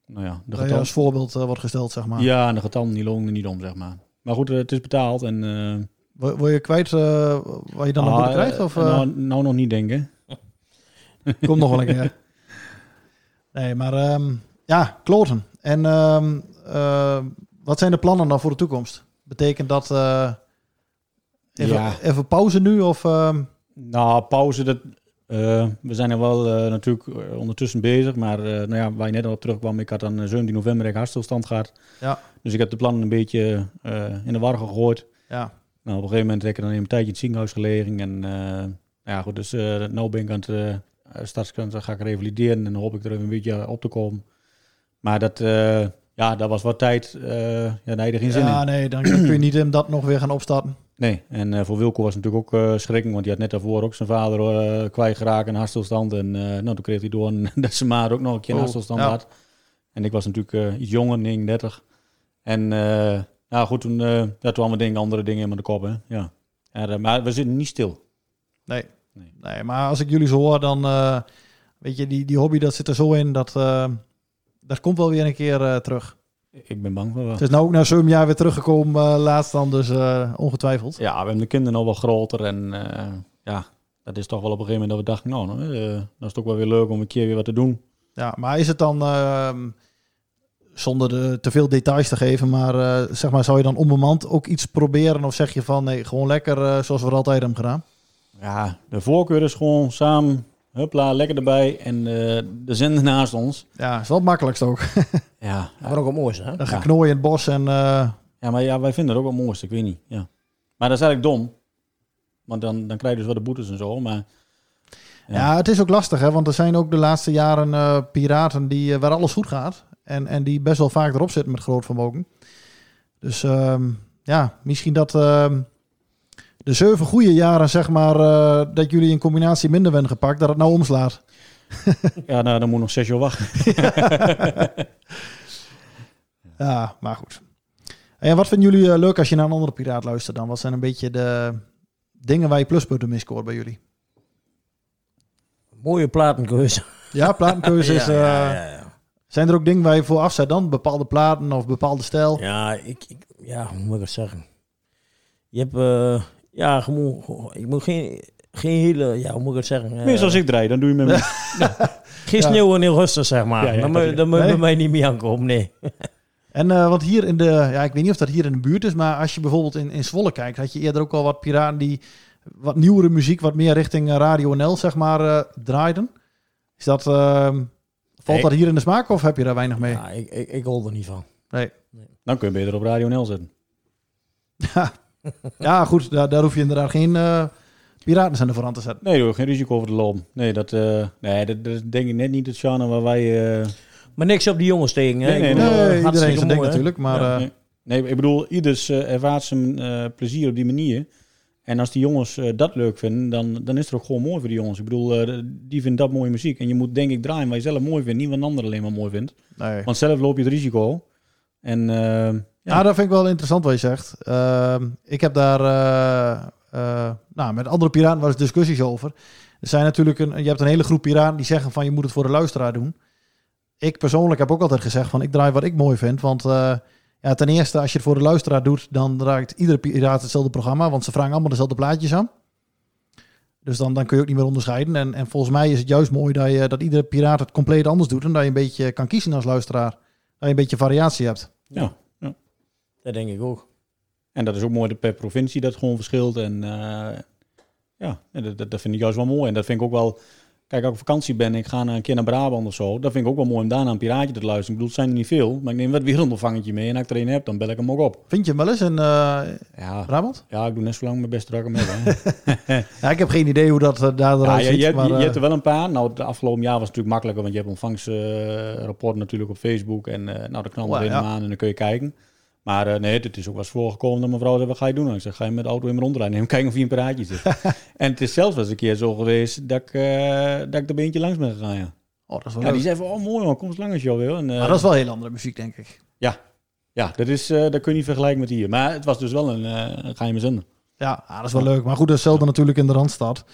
Speaker 3: nou ja, de
Speaker 1: Dat je
Speaker 3: getal...
Speaker 1: als voorbeeld eh, wordt gesteld, zeg maar.
Speaker 3: Ja, en de getallen die longen er niet om, zeg maar. Maar goed, eh, het is betaald en... eh,
Speaker 1: Wil wil je kwijt eh wat je dan nog
Speaker 3: ah,
Speaker 1: boete krijgt?
Speaker 3: eh,
Speaker 1: Of, eh,
Speaker 3: nou, nou nog niet denken.
Speaker 1: Komt nog wel een keer. Nee, maar ehm, ja, kloten. En ehm, ehm, wat zijn de plannen dan voor de toekomst? Betekent dat eh, even,
Speaker 3: Ja.
Speaker 1: even pauze nu? Of, ehm,
Speaker 3: Nou, pauze, dat, eh, Eh, we zijn er wel eh, natuurlijk eh, ondertussen bezig, maar eh, nou ja, waar je net al op terugkwam, ik had aan eh, 17 november een hartstilstand gehad.
Speaker 1: Ja.
Speaker 3: Dus ik heb de plannen een beetje eh, in de war gegooid.
Speaker 1: Ja.
Speaker 3: Nou, op een gegeven moment heb ik er dan een tijdje in het ziekenhuis gelegen. En eh, nou ja, goed, dus eh nou ben ik aan het eh, startskant, dan ga ik revalideren en dan hoop ik er even een beetje op te komen. Maar dat, eh, ja, dat was wat tijd. eh ja, nee, er geen zin in.
Speaker 1: ja, nee, dan kun je niet hem dat nog weer gaan opstarten.
Speaker 3: Nee, en eh, voor Wilco was het natuurlijk ook eh schrikking, want die had net daarvoor ook zijn vader eh kwijtgeraakt, een hartstilstand. En eh, nou, toen kreeg hij door [LAUGHS] een- dat zijn maar ook nog een keer een
Speaker 12: Oh,
Speaker 3: hartstilstand
Speaker 12: ja.
Speaker 3: had. En ik was natuurlijk eh, iets jonger, 39. En eh, nou goed, toen, eh ja, toen allemaal dingen, andere dingen in de kop, hè. Ja. En, eh, maar we zitten niet stil.
Speaker 1: Nee. nee. maar als ik jullie zo hoor, dan eh, weet je, die, die hobby dat zit er zo in dat eh, dat komt wel weer een keer eh, terug.
Speaker 3: Ik ben bang voor wel.
Speaker 1: Het is nou ook na zo'n jaar weer teruggekomen, eh, laatst dan, dus eh, ongetwijfeld.
Speaker 3: Ja, we hebben de kinderen al wel groter en eh, ja, dat is toch wel op een gegeven moment dat we dachten, nou, nou, eh, dan is het ook wel weer leuk om een keer weer wat te doen.
Speaker 1: Ja, maar is het dan, ehm, zonder de, te veel details te geven, maar eh, zeg maar, zou je dan onbemand ook iets proberen? Of zeg je van nee, gewoon lekker eh, zoals we het altijd hebben gedaan?
Speaker 3: Ja, de voorkeur is gewoon samen, huppla, lekker erbij. En eh, de zender [LAUGHS] naast ons.
Speaker 1: Ja, is wel het makkelijkst ook.
Speaker 3: Ja. Dat
Speaker 2: wordt ook het mooiste, hè?
Speaker 1: Dan ga knooien in het bos en... eh,
Speaker 3: Ja, maar ja, wij vinden het ook wel het mooiste, ik weet niet. Ja. Maar dat is eigenlijk dom. Want dan, dan krijg je dus wel de boetes en zo. Maar
Speaker 1: Ja, het is ook lastig, hè? want er zijn ook de laatste jaren eh, piraten die, eh, waar alles goed gaat. En, en die best wel vaak erop zitten met groot vermogen. Dus ehm, ja, misschien dat ehm, de zeven goede jaren, zeg maar, eh, dat jullie in combinatie minder werden gepakt, dat het nou omslaat.
Speaker 3: ja, nou, dan moet nog zes jaar wachten.
Speaker 1: Ja, maar goed. En wat vinden jullie eh, leuk als je naar een andere piraat luistert dan? Wat zijn een beetje de dingen waar je pluspunten mee scoort bij jullie?
Speaker 2: Mooie
Speaker 3: [LAUGHS]
Speaker 2: platenkeuze.
Speaker 1: Ja,
Speaker 3: Dus,
Speaker 1: platenkeuze is...
Speaker 2: [LAUGHS] Ja,
Speaker 1: eh,
Speaker 2: ja, ja, ja.
Speaker 1: Zijn er ook dingen waar je voor afzet dan? Bepaalde platen of bepaalde stijl?
Speaker 2: Ja, ik, ik, ja hoe moet ik het zeggen? Je hebt, eh, ja, gewoon, ik moet geen, geen hele, ja, hoe moet ik het zeggen? Eh,
Speaker 3: Meer zoals ik draai, dan doe je met me.
Speaker 2: Geen
Speaker 1: Ja.
Speaker 2: sneeuw en heel rustig, zeg maar.
Speaker 1: Ja, ja,
Speaker 2: dan
Speaker 1: dat-
Speaker 2: moet dan moet je
Speaker 1: Nee.
Speaker 2: bij mij niet meer aankomen, nee.
Speaker 1: En eh want hier in de, ja, ik weet niet of dat hier in de buurt is, maar als je bijvoorbeeld in, in Zwolle kijkt, had je eerder ook al wat piraten die wat nieuwere muziek, wat meer richting eh, Radio NL, zeg maar, eh, draaiden. Is dat, eh, valt
Speaker 2: Nee.
Speaker 1: dat hier in de smaak of heb je daar weinig mee?
Speaker 2: Ja, ik, ik, ik hol er niet van.
Speaker 1: Nee.
Speaker 3: [LAUGHS] Dan kun je beter op Radio NL zetten.
Speaker 1: Ja, goed, daar, daar hoef je inderdaad geen eh piraten aan de voorhand te zetten.
Speaker 3: Nee, hoor, geen risico over de loom. Nee, dat, eh, nee, dat, dat is denk ik net niet het genre waar wij... eh,
Speaker 2: Maar niks op die jongens tegen, hè?
Speaker 3: Nee, nee,
Speaker 2: Ik
Speaker 3: nee.
Speaker 1: Eh,
Speaker 2: bedoel,
Speaker 3: Nee,
Speaker 2: hartstikke
Speaker 3: iedereen zijn
Speaker 2: mooi,
Speaker 3: ding
Speaker 2: hè?
Speaker 3: natuurlijk,
Speaker 1: maar,
Speaker 3: Ja,
Speaker 1: eh,
Speaker 3: nee. nee, ik bedoel, ieders eh, ervaart zijn eh, plezier op die manier. En als die jongens eh, dat leuk vinden, dan, dan is het ook gewoon mooi voor die jongens. Ik bedoel, eh, die vinden dat mooie muziek. En je moet denk ik draaien wat je zelf mooi vindt, niet wat een ander alleen maar mooi vindt.
Speaker 1: Nee.
Speaker 3: Want zelf loop je het risico. En eh,
Speaker 1: Ja, Nou, dat vind ik wel interessant wat je zegt. Ehm, ik heb daar eh, eh, nou, met andere piraten wel eens discussies over. Er zijn natuurlijk een, je hebt een hele groep piraten die zeggen van je moet het voor de luisteraar doen. Ik persoonlijk heb ook altijd gezegd van ik draai wat ik mooi vind. Want eh, ja, ten eerste, als je het voor de luisteraar doet, dan draait iedere piraat hetzelfde programma. Want ze vragen allemaal dezelfde plaatjes aan. Dus dan, dan kun je ook niet meer onderscheiden. En, en volgens mij is het juist mooi dat, je, dat iedere piraat het compleet anders doet. En dat je een beetje kan kiezen als luisteraar. Dat je een beetje variatie hebt.
Speaker 3: ja. ja.
Speaker 2: Dat denk ik ook.
Speaker 3: En dat is ook mooi dat per provincie dat gewoon verschilt. En eh, ja, en dat, dat, dat vind ik juist wel mooi. En dat vind ik ook wel... Kijk, als ik op vakantie ben en ik ga naar- een keer naar Brabant of zo... dat vind ik ook wel mooi om daarna een piraatje te luisteren. Ik bedoel, het zijn er niet veel, maar ik neem wat wereldontvangetje mee. En als ik er een heb, dan bel ik hem ook op.
Speaker 1: Vind je hem wel eens in eh,
Speaker 3: Ja,
Speaker 1: Brabant?
Speaker 3: ja ik doe net zo lang mijn best dat ik hem
Speaker 1: [LAUGHS]
Speaker 3: heb. hè.
Speaker 1: Ja, ik heb geen idee hoe dat eh, daar
Speaker 3: ja,
Speaker 1: eruit
Speaker 3: je,
Speaker 1: ziet.
Speaker 3: je, hebt,
Speaker 1: maar,
Speaker 3: je,
Speaker 1: eh,
Speaker 3: hebt er wel een paar. Nou, het afgelopen jaar was het natuurlijk makkelijker... want je hebt ontvangstrapporten natuurlijk op Facebook. En eh, nou, dan knallen
Speaker 12: Oh,
Speaker 3: we
Speaker 12: ja.
Speaker 3: hem aan en dan kun je kijken. Maar eh, nee, het is ook wel eens voorgekomen dat mijn vrouw zei... wat ga je doen? En ik zeg, ga je met de auto in mijn rondrijden? En kijken of je een paraatje zit.
Speaker 1: [LAUGHS]
Speaker 3: en het is zelfs wel eens een keer zo geweest... dat ik, eh dat ik er beentje langs ben gegaan, ja.
Speaker 1: Oh, dat is wel
Speaker 3: Ja, die
Speaker 1: leuk.
Speaker 3: zei van, oh mooi man, kom eens langs als je al wil. En, eh,
Speaker 1: maar dat is wel heel andere muziek, denk ik.
Speaker 3: Ja, ja dat, is, eh, dat kun je niet vergelijken met hier. Maar het was dus wel een, eh een geheime zender.
Speaker 1: Ja, ah, dat is wel leuk. Maar goed, dat is zelden natuurlijk in de Randstad.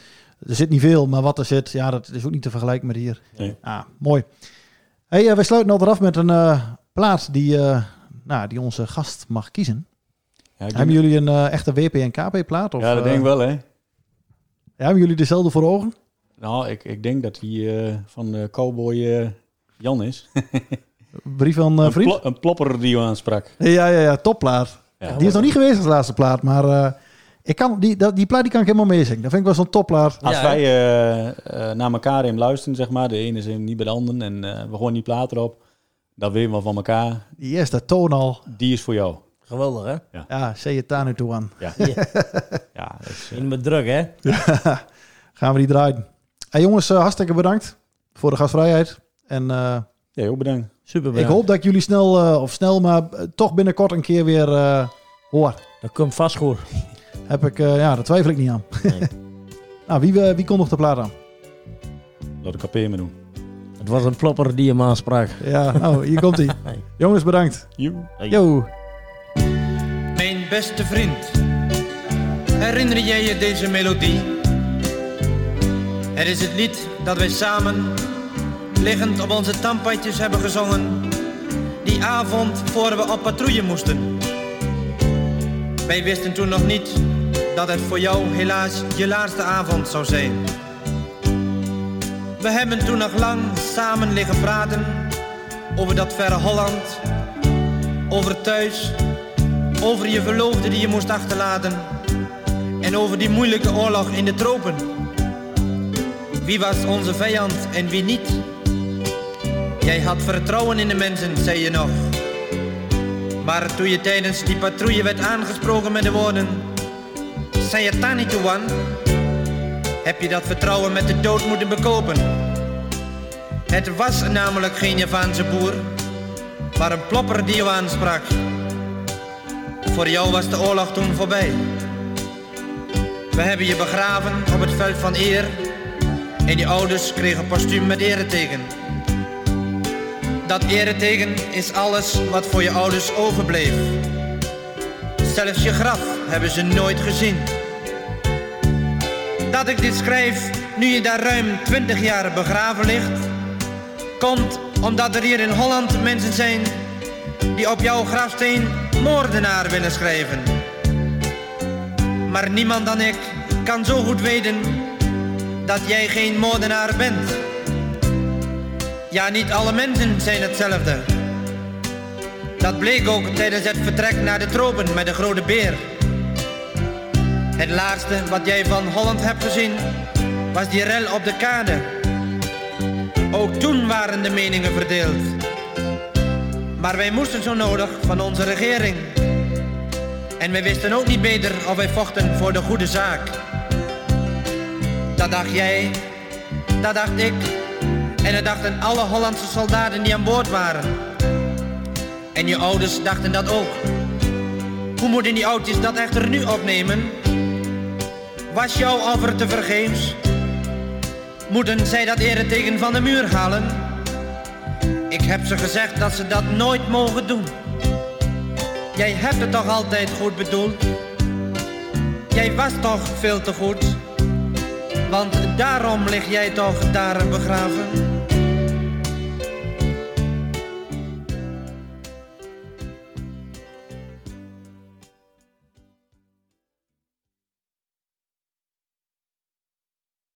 Speaker 1: Er zit niet veel, maar wat er zit, ja, dat is ook niet te vergelijken met hier.
Speaker 3: Nee.
Speaker 1: Ah, mooi. Hey, eh, we sluiten altijd af met een eh, plaat die, eh, nou, die onze gast mag kiezen.
Speaker 3: ik
Speaker 1: hebben
Speaker 3: denk-
Speaker 1: jullie een eh, echte WP en KP plaat? Of,
Speaker 3: ja, dat
Speaker 1: eh,
Speaker 3: denk ik wel, hè.
Speaker 1: ja, hebben jullie dezelfde voor ogen?
Speaker 3: Nou, ik, ik denk dat hij eh, van eh, cowboy eh, Jan is.
Speaker 1: Brief van eh,
Speaker 3: een,
Speaker 1: vriend?
Speaker 3: plo- een plopper die je aansprak.
Speaker 1: Ja, ja, ja, topplaat.
Speaker 3: Ja.
Speaker 1: die is nog niet geweest als laatste plaat, maar eh, Ik kan, die, dat- die plaat die kan ik helemaal meezingen. Dat vind ik wel zo'n toplaat.
Speaker 3: Als wij eh, eh, naar elkaar in luisteren, zeg maar, de ene is hem niet bij de ander en eh, we gooien die plaat erop, dan weten we van elkaar,
Speaker 1: Die eerste toon al.
Speaker 3: die is voor jou.
Speaker 2: Geweldig, hè?
Speaker 3: Ja,
Speaker 1: ja say it down to one.
Speaker 3: Ja. ja eh,
Speaker 2: In mijn druk, hè?
Speaker 1: Ja, gaan we die draaien. Hey jongens, eh, hartstikke bedankt voor de gastvrijheid. En, eh
Speaker 3: ja, heel bedankt.
Speaker 2: Super
Speaker 1: Ik hoop dat ik jullie snel, eh, of snel, maar eh, toch binnenkort een keer weer eh, hoor.
Speaker 2: Dat komt vast goed.
Speaker 1: Heb ik, eh, ja, daar twijfel ik niet aan. [LAUGHS] nou, wie, eh, wie kondigt de plaat aan?
Speaker 3: Laat ik kaperen doen.
Speaker 2: Het was een plopper die hem aansprak.
Speaker 1: Ja, nou, hier komt hij. Jongens, bedankt.
Speaker 2: Hey.
Speaker 1: Yo.
Speaker 12: Mijn beste vriend, herinner jij je deze melodie? Het is het lied dat wij samen, liggend op onze tandpadjes hebben gezongen. Die avond voor we op patrouille moesten. Wij wisten toen nog niet dat het voor jou helaas je laatste avond zou zijn. We hebben toen nog lang samen liggen praten over dat verre Holland, over thuis over je verloofde die je moest achterlaten. En over die moeilijke oorlog in de tropen. Wie was onze vijand en wie niet? Jij had vertrouwen in de mensen, zei je nog. Maar toen je tijdens die patrouille werd aangesproken met de woorden... Zei je daar niet toe aan? Heb je dat vertrouwen met de dood moeten bekopen? Het was namelijk geen Javaanse boer, maar een plopper die je aansprak. Voor jou was de oorlog toen voorbij. We hebben je begraven op het veld van eer. En je ouders kregen postuum met ereteken. Dat ereteken is alles wat voor je ouders overbleef. Zelfs je graf hebben ze nooit gezien. Dat ik dit schrijf, nu je daar ruim 20 jaar begraven ligt, komt omdat er hier in Holland mensen zijn die op jouw grafsteen moordenaar willen schrijven. Maar niemand dan ik kan zo goed weten dat jij geen moordenaar bent. Ja, niet alle mensen zijn hetzelfde. Dat bleek ook tijdens het vertrek naar de tropen met de grote beer. Het laatste wat jij van Holland hebt gezien was die rel op de kade. Ook toen waren de meningen verdeeld. Maar wij moesten zo nodig van onze regering. En wij wisten ook niet beter of wij vochten voor de goede zaak. Dat dacht jij, dat dacht ik. En dat dachten alle Hollandse soldaten die aan boord waren. En je ouders dachten dat ook. Hoe moeten die oudjes dat echter nu opnemen? Was jouw offer te vergeefs? Moeten zij dat ereteken van de muur halen? Ik heb ze gezegd dat ze dat nooit mogen doen. Jij hebt het toch altijd goed bedoeld? Jij was toch veel te goed? Want daarom lig jij toch daar begraven?